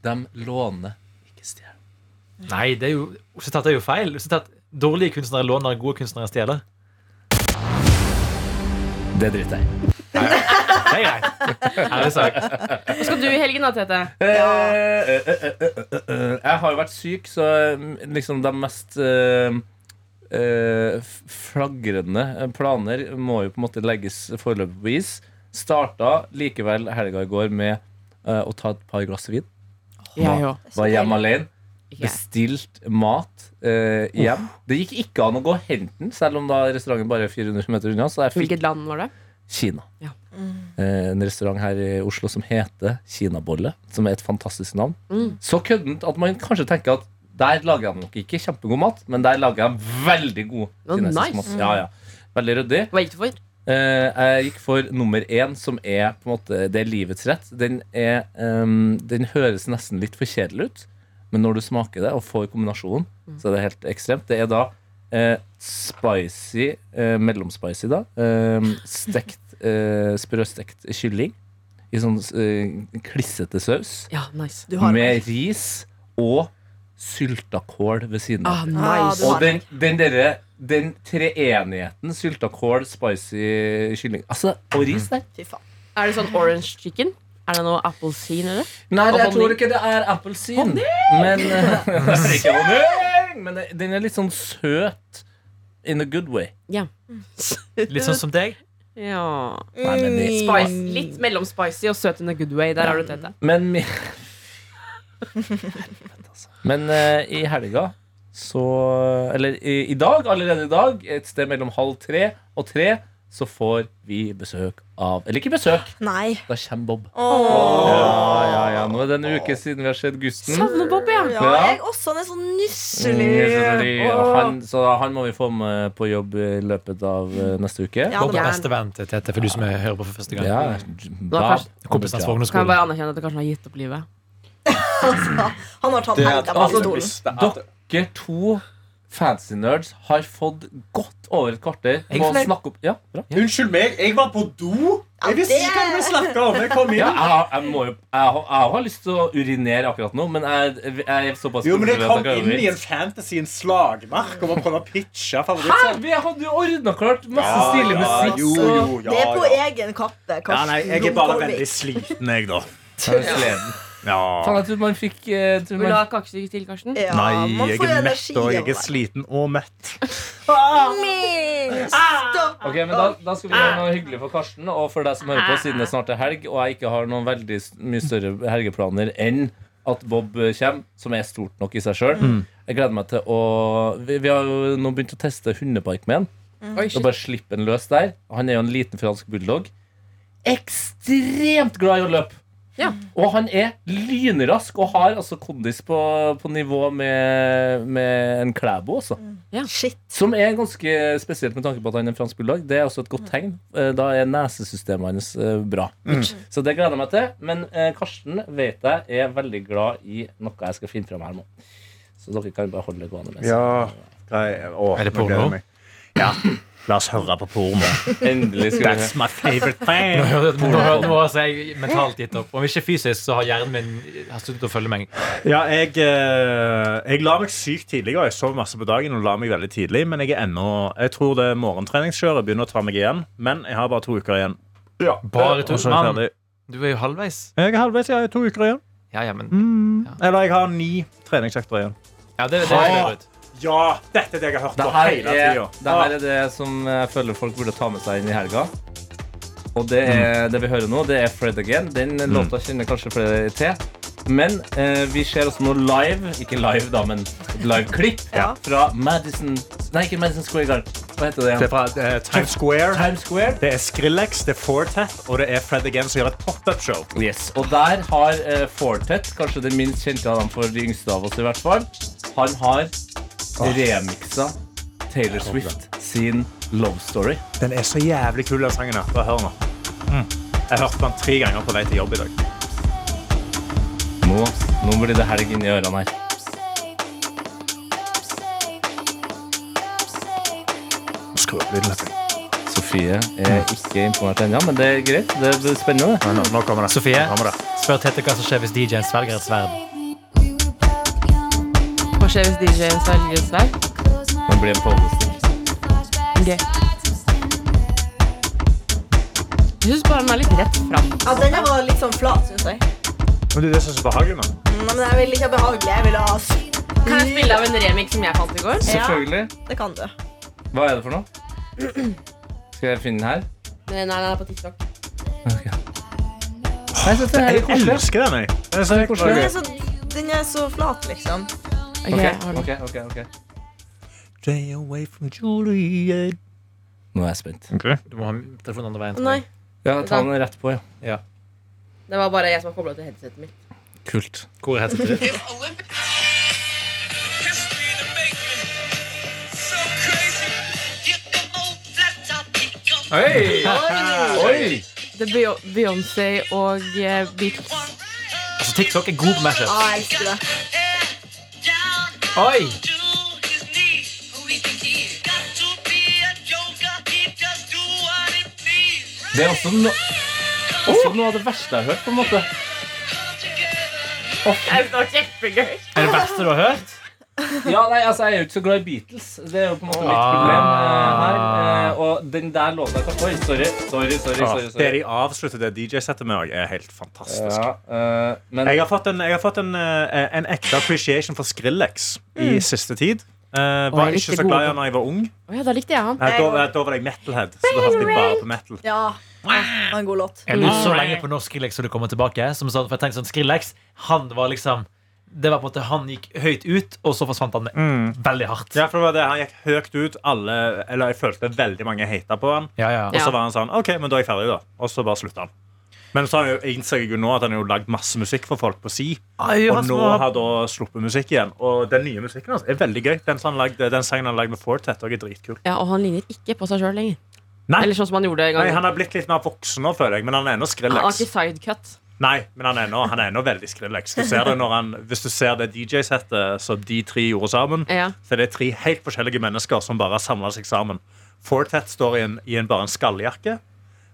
B: de låner ikke stjeler.
E: Nei, det er jo, sitat er jo feil. Sitat, dårlige kunstnere låner, gode kunstnere stjeler.
B: Det driter jeg i.
E: Det er greit. Ærlig sak.
D: Hva skal du i helgen, da, Tete?
B: Eh, eh, eh, eh, eh, eh. Jeg har jo vært syk, så eh, liksom de mest eh, eh, f- flagrende eh, planer må jo på en måte legges foreløpig på is. Starta likevel helga i går med eh, og ta et par glass vin.
D: Jeg òg.
C: Så
B: Var hjemme
C: deilig.
B: alene.
D: Jeg.
B: Bestilt mat eh, hjem. Det gikk ikke an å gå og hente den, selv om da restauranten bare er 400 meter unna. Så jeg fikk
D: Hvilket land var det?
B: Kina.
D: Ja.
B: Eh, En restaurant her i Oslo som heter Kinabolle, som er et fantastisk navn.
D: Mm.
B: Så køddent at man kanskje tenker at der lager de nok ikke kjempegod mat, men der lager de veldig god
D: Oh,
B: kinesisk
D: nice.
B: mat. Ja, ja. Veldig ryddig.
D: Hva gikk du for?
B: Eh, Jeg gikk for nummer én, som er på en måte Det er livets rett. Den, er, ehm, den høres nesten litt for kjedelig ut, men når du smaker det og får kombinasjonen,
C: Mm.
B: så er det helt ekstremt. Det er da eh, spicy, eh, mellomspicy, da. ehm, stekt, eh, sprøstekt kylling i sånn eh, klissete saus
D: Ja, nice.
C: Du har
B: med ris og syltakål ved siden av.
C: Ah,
D: Ah, nice.
C: du har
B: Og den, den derre den treenigheten syltakål, spicy kylling Altså, og ris der.
C: Fy faen.
D: Er det sånn orange chicken? Er det noe appelsin, eller?
B: Nei,
D: Og
B: jeg tror
D: honning.
B: ikke det er appelsin. Men eh, Ikke honning! Men det- den er litt sånn søt in a good way.
E: Litt sånn som deg.
D: Ja.
B: Nei, men, i-
C: Mm.
D: Spice. Litt mellom spicy og søt in a good way. Der har du tete.
B: men mi- Men eh, i helga så Eller i, i dag, allerede i dag, et sted mellom halv tre og tre, så får vi besøk av Eller ikke besøk,
C: Nei.
B: da kommer Bob.
C: Åh.
B: Ja, ja, ja. Nå er det en uke siden vi har sett Gusten.
D: Mm. Savner Bob, ja.
C: Ja, jeg også. sånn Han er så nusselig.
B: Mm, og Han, så han må vi få med på jobb i løpet av eh, neste uke.
C: Ja,
E: Bob
C: det
E: er
C: var-
E: beste venn til Tete, for du som hører på for første gang.
B: Ja,
D: Da først-
E: Kompisen hans på
D: Kan jeg
E: ungdomsskolen.
D: bare anerkjenne at jeg kanskje har gitt opp livet?
C: altså, han har tatt helga på
B: altså,
C: stolen.
B: Dere to fancy nerds har fått godt over et kvarter
E: Jeg
B: på å
E: fornøyd.
B: snakke opp Ja, bra.
F: Unnskyld meg, jeg var på do! Jeg visste ikke hva vi snakka om. Jeg kom
B: Ja,
F: inn.
B: jeg, har- jeg, må jo, jeg, har- jeg har lyst til å urinere akkurat nå, men jeg, jeg er såpass
F: Jo, men jeg
B: konsentrert at
F: kom
B: kan
F: inn
B: gjøre
F: i
B: det.
F: en fantasyens slagmark om å prøve å pitche
B: Hæ?
F: favoritter.
B: Vi hadde jo ordna klart masse stilig musikk.
F: jo, jo, ja,
C: det er på
F: ja.
C: egen kappe.
F: Ja,
C: Karsten
F: nei, jeg er bare
C: Blomkvist.
F: veldig sliten, jeg, da.
B: Faen,
F: Ja.
B: jeg trodde man fikk eh, trodde man
D: Vil du ha et kakestykke til, Karsten?
C: Ja, man får jo energi av det.
F: sliten og mett.
C: Minst, da.
B: Ok, men da, da skal vi gjøre noe hyggelig for Karsten og for deg som hører på, siden det snart er helg, og jeg ikke har noen veldig s- mye større helgeplaner enn at Bob eh, kommer, som er stort nok i seg sjøl. Jeg gleder meg til å Vi, vi har jo nå begynt å teste hundepark med han.
D: Oi,
B: Og bare slippe han løs der. Han er jo en liten fransk bulldog. Ekstremt glad i å løpe!
D: Ja.
B: Og han er lynrask og har altså kondis på, på nivå med, med en Klæbo, altså.
C: Shit.
B: Som er ganske spesielt med tanke på at han er en fransk bulldog. Det er også et godt tegn. Eh, Da er nesesystemet hans eh, bra.
F: Mm.
B: Så det gleder jeg meg til. Men eh, Karsten vet jeg er veldig glad i noe jeg skal finne fram her nå. Så dere kan bare holde det gående. Med.
F: Ja.
E: Er det nå gleder jeg porno? meg.
F: Ja. La oss høre på porno.
B: Endelig skal vi
F: That's my favorite thing.
E: Nå hører- Nå hører- nå har jeg mentalt gitt opp. Om ikke fysisk, så har hjernen min har sluttet å følge meg.
F: Ja, jeg, eh, jeg la meg sykt tidlig, og jeg sov masse på dagen. og la meg veldig tidlig, Men jeg er ennå, jeg tror det morgentreningskjøret begynner å ta meg igjen. Men jeg har bare to uker igjen.
E: Bare to
F: Og så er jeg
E: mann.
F: ferdig.
E: Du er jo halvveis.
F: Jeg er halvveis, jeg har to uker igjen.
E: Ja, ja, men
F: Eller jeg har ni treningsøkter igjen.
E: ja, det, det er
F: Ha!
E: det.
F: Ja, dette er det jeg har hørt
B: Det
F: på
B: her,
F: hele
B: er,
F: tiden.
B: det her er det som jeg føler folk burde ta med seg inn i helga. Og det, er,
F: Mm.
B: det vi hører nå, det er Fred Again. Den låta kjenner kanskje flere til. Men eh, vi ser også noe live, ikke live da, men et live-klipp
C: Ja.
B: fra Madison Nei, ikke Madison Square Garden. Hva heter det?
F: Det er
B: igjen?
F: fra eh, Times Square.
B: Times Square.
F: Det er Skrillex, det er Fortet, og det er Fred Again som gjør et pop-up-show.
B: Yes, Og der har eh, Fortet, kanskje den minst kjente av dem for de yngste av oss, i hvert fall, han har remiksa Taylor Swift sin Love Story.
F: Den er så jævlig kul, den sangen. her. Bare hør nå. Mm. Jeg hørte den tre ganger på vei til jobb i dag.
B: Nå, nå blir det helg inni ørene her.
F: Skru opp lyden litt.
B: Sofie er ikke imponert ennå, men det er greit. Det blir spennende. det.
F: Nei, nå, nå kommer det.
E: Sofie,
F: Nå kommer det.
E: spør Tete hva som skjer hvis DJ-en svelger et sverd.
D: Hva skjer hvis DJ-en selger ut der?
B: Nå blir det påvisning.
D: Jeg syns bare den er litt rett fram.
C: Ja, den her var litt sånn flat, syns jeg.
F: Men det er det som er så behagelig med den.
C: Nei, men jeg ville ikke ha behagelig. Jeg ville ha s-
D: Kan jeg spille av en remix som jeg fant i går?
B: Selvfølgelig.
C: Det kan du.
B: Hva er det for noe? Skal jeg finne den her?
D: Eh, Nei, nei, den er på TikTok.
B: Ok.
G: Jeg synes det er
F: Jeg
G: litt koselig.
F: elsker den, jeg. Den er så
G: koselig.
C: Den
F: koselig.
C: er så, den er så flat, liksom.
D: Ok, jeg har den.
G: Ok, ok, ok.
F: Stay away from Juliet.
B: Nå er jeg spent.
E: Du må ha telefonen andre veien.
C: Å
E: tror
C: nei.
E: jeg.
B: Ja, ta den rett på, ja.
D: Det var bare jeg som har kobla til headsetet mitt.
B: Kult.
E: Hvor er headsetet ditt? Oi!
G: Oi!
D: Det er Bey- Beyoncé og eh, Beatles.
E: Altså, TikTok er god på mashup.
C: Ah, jeg elsker det.
E: Oi!
G: Det er også, no
B: Oh!
G: også noe av det verste jeg har hørt, på en måte.
D: Det var kjempegøy.
E: Er det beste du har hørt?
B: Ja, nei, altså, Jeg er jo ikke så glad i Beatles. Det er jo på en måte mitt
E: Ah.
B: problem eh, her. Eh, og den der låta jeg tar Oi, sorry. Sorry, sorry.
E: Ah,
B: sorry,
F: Det
B: sorry.
F: de avslutter det DJ-settet med, også er helt fantastisk.
B: Ja, eh, men
F: Jeg har fått en, jeg har fått en, eh, en ekte appreciation for Skrillex i siste tid. Eh,
D: Oi,
F: var
D: riktig
F: ikke så glad i
D: god.
F: han da jeg var ung.
D: Å ja, da likte jeg han.
F: Eh, Da, da var jeg metalhead. Så da hørte jeg bare på metal.
C: Ja. ja, Det var en god låt.
E: Jeg lurte så lenge på når Skrillex skulle komme tilbake. Som sa, for jeg tenkte sånn, Skrillex, han var liksom Det var på en måte Han gikk høyt ut, og så forsvant han med veldig hardt.
F: Ja, for det var det. Han gikk høyt ut. Alle, eller jeg følte veldig mange hata på han.
E: Ja, ja.
F: Og
D: Ja.
F: så var han sånn OK, men da er jeg ferdig, da. Og så bare slutta han. Men så har jeg jo- innså jeg jo nå at han har jo lagd masse musikk for folk på si.
E: Ai,
F: Og
E: han som
F: nå
E: var-
F: har da sluppet musikk igjen. Og den nye musikken hans er veldig gøy. Den, som han lagde, den sangen han lagde med Fortet, også er dritkul.
D: Ja, Og han ligner ikke på seg sjøl lenger.
F: Nei.
D: Eller sånn som han gjorde en gang.
F: Nei, han har blitt litt mer voksen nå, føler jeg. Men han er ennå
D: han har
F: Skrillex.
D: ikke sidecut.
F: Nei, men han er ennå, han er ennå veldig Skrillex. Du ser det når han, hvis du ser det DJ-settet som de tre gjorde sammen,
D: Ja.
F: så er det tre helt forskjellige mennesker som bare har samla seg sammen. Fortet står i en, i en bare en skalljakke.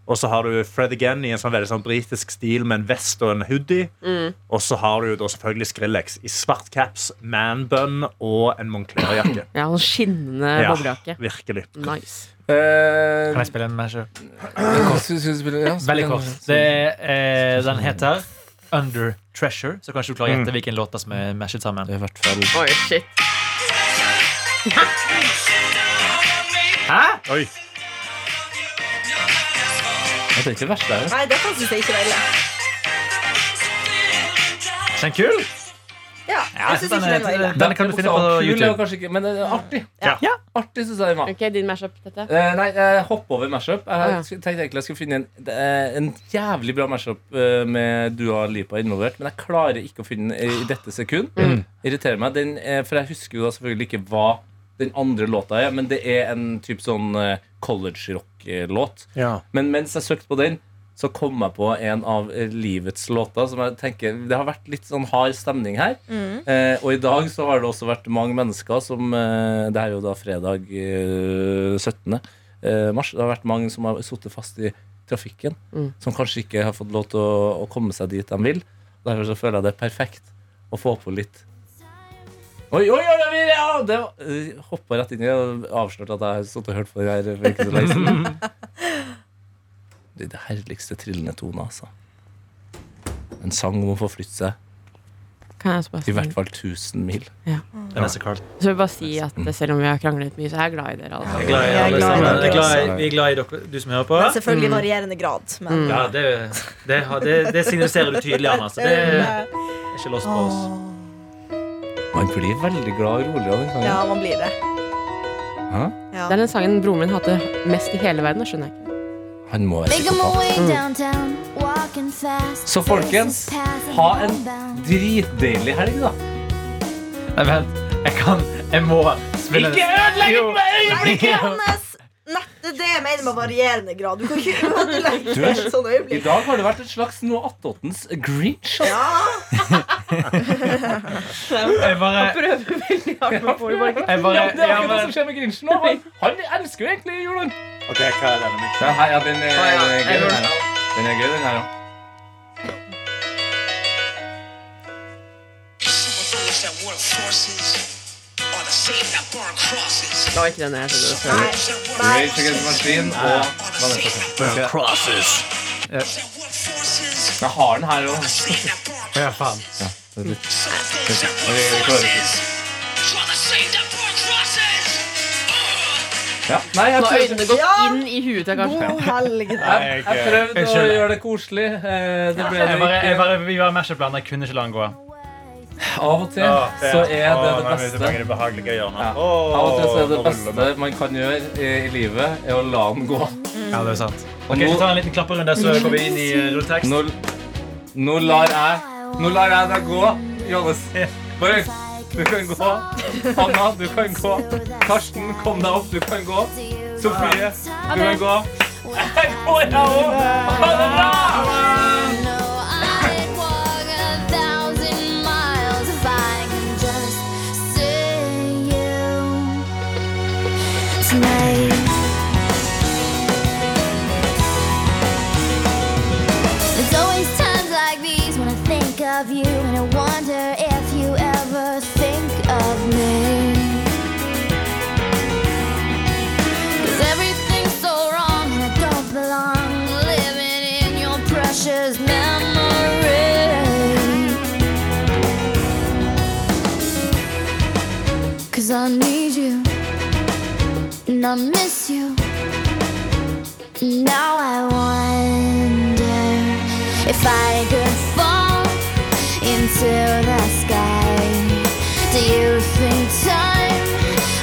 F: Og så har du Fred Again i en sånn veldig sånn britisk stil med en vest og en hoodie.
D: Mm.
F: Og så har du jo da selvfølgelig Skrillex i svart caps, manbun og en Moncler-jakke.
D: Ja, han skinnende boblejakke.
F: virkelig.
D: Nice.
E: Kan
B: eh,
E: jeg spille en mashup?
B: skal- skal du spille- ja, spille
E: Veldig
B: en-
E: kort. Det, eh, den heter Under Treasure. Så kanskje du klarer å gjette hvilken låt som Mm. er mashet sammen.
B: Det er i hvert fall
D: Oi, shit.
E: Hæ?
F: Oi.
B: Det er ikke det verste jeg har hørt.
C: Nei, det syns jeg ikke veldig.
E: Er den kul?
C: Ja, jeg synes ikke den var ille.
E: den kan du finne på
B: Kul er jo
E: YouTube.
B: kanskje ikke, men det er artig.
C: Ja.
E: Ja.
B: Artig synes jeg den var.
D: Ok, din mashup, dette.
B: Eh, nei, jeg hopper over mashup. Jeg
D: ja.
B: tenkte egentlig jeg skulle finne en, det er en jævlig bra mashup eh, med Dua Lipa involvert, men jeg klarer ikke å finne den i dette sekund. Irriterer meg. Den, eh, for jeg husker jo da selvfølgelig ikke hva den andre låta er, men det er en type sånn eh, college eh, rock-låt.
F: Ja.
B: Men mens jeg søkte på den, så kom jeg på en av eh, livets låter som jeg tenker Det har vært litt sånn hard stemning her. Eh, og i dag så har det også vært mange mennesker som eh, Det er jo da fredag eh, 17. Eh, mars. Det har vært mange som har sittet fast i trafikken. Som kanskje ikke har fått lov til å, å komme seg dit de vil. Derfor så føler jeg det er perfekt å få på litt Oi, oi, oi! oi, Ja, det var- hoppa rett inn i det og avslørte at jeg har sittet og hørt på det her for ikke så lenge siden. Det er det herligste trillende tonet, altså. En sang om å forflytte seg
D: Kan jeg spørre
B: i hvert fall 1000 mil.
E: Vanessa Carlton.
D: Så vil jeg bare si at eh, selv om vi har kranglet mye, så er jeg glad i dere alle sammen.
E: glad i
C: Jeg er
E: alle
C: glad i
E: sammen.
C: dere
E: Jeg er glad i-
B: også.
E: Vi er glad i dere, du som hører på.
C: Men selvfølgelig i varierende grad. Men
E: Ja, det, det, har- det, det signaliserer du tydelig, Anna. Så det er ikke låst på oss.
B: Man blir veldig glad og rolig av den sangen.
C: eh, ja, man blir det.
B: Hæ?
C: Ja.
D: Det er den sangen broren min hater mest i hele verden. og skjønner jeg ikke
B: Han må være
H: Making my
I: Mm.
B: psykopat.
H: way downtown, walking fast.
B: Så folkens, ha en dritdeilig helg, da.
E: Nei, vent. Jeg kan Jeg må spille Ikke ødelegg meg!
C: Johannes, nett- det er det jeg mener med varierende grad. Du kan ikke ødelegge Sånn
B: er-
C: et sånt
B: I
C: øyeblikk.
B: dag har det vært et slags Noah Attottens Grinch. altså.
C: Ja,
E: Jeg bare Jeg bare
B: Ja, men det er
E: ja,
B: akkurat det som
E: men,
B: skjer med Grinchen nå. Han, han elsker jo egentlig julen.
F: Ok, hva er denne mikrofonen?
B: Ja, hei, ja, den, er, den er gøy, den her. ja. Den er gøy, den her, ja.
D: Det var ikke den jeg trodde det skulle være.
B: Rage Against the Machine og Vanessa Carlton. Ok. Jeg har den her òg.
E: ja, faen.
B: vi klarer ikke.
I: Nei,
D: Nå
I: jeg
D: har
I: prøvde,
D: øynene gått
C: Ja.
D: inn i huet til Karsten.
C: God helg, da.
I: jeg, jeg prøvde
E: Jeg
I: å
E: skjønner.
I: gjøre det koselig. eh, Det ble
E: Jeg
I: det
E: bare, jeg
I: ikke.
E: bare, vi var i matchup-land. Jeg kunne ikke la den gå.
I: Av og til så er det det beste.
F: Det behagelige hjørnet.
I: Ja.
F: Åh,
I: Av og til så er det
F: nå ruller
I: beste man kan gjøre i, i livet, er å la den gå.
E: Ja, det er sant.
I: Og
E: Ok, Vi
I: nå,
E: tar en liten klapperunde, så går vi inn i eh, rulletekst.
I: nå, nå lar jeg Nå lar jeg deg gå, Johannes. Bare, du kan gå. Anna, du kan gå. Karsten, kom deg opp. Du kan gå. Sofie, du kan gå. Jeg går, jeg òg. Ha det bra!
H: Tonight There's always times like these when I think of you and I wonder if you ever think of me. Cause everything's so wrong and I don't belong living in your precious memory. Cause I need you and I miss you. Now I wonder if I could fall into the sky. Do you think time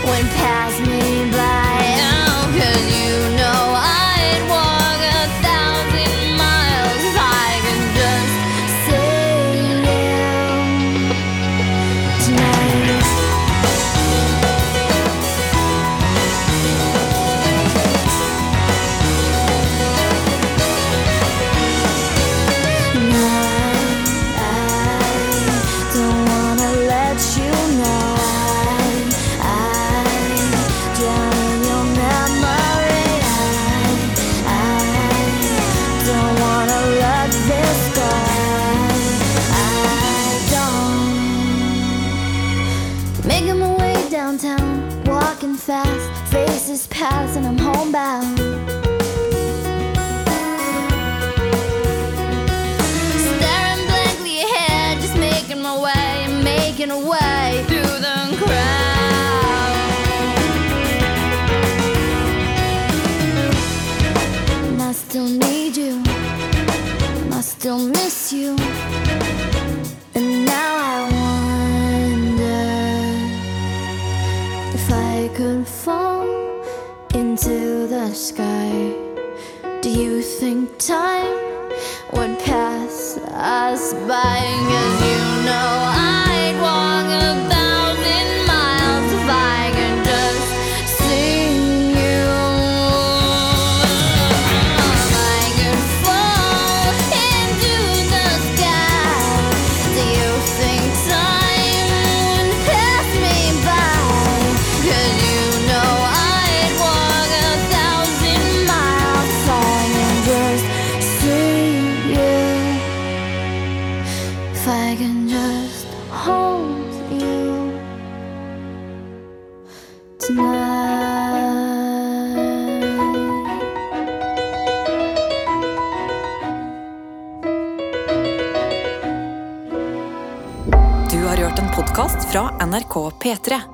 H: would pass me by? Oh, 'cause you know I'd walk a thousand miles if I could just see you tonight. Don't wanna let you know I drown in your memory. I don't wanna let this go. I don't. Making my way downtown, walking fast, faces pass, and I'm homebound. Staring blankly ahead, just making my way, making a way through the crowd. And I still need you, and I still miss you. And now I wonder if I could fall into the sky. Do you think time would pass us by? Cause you know I'd walk a thousand miles if I could just see you. If I could fall into the sky, do you think time would pass me by? Cause you know I'd walk a thousand miles if I could just see you. If I can just hold you tonight.
A: Du har hørt en podkast fra NRK P3.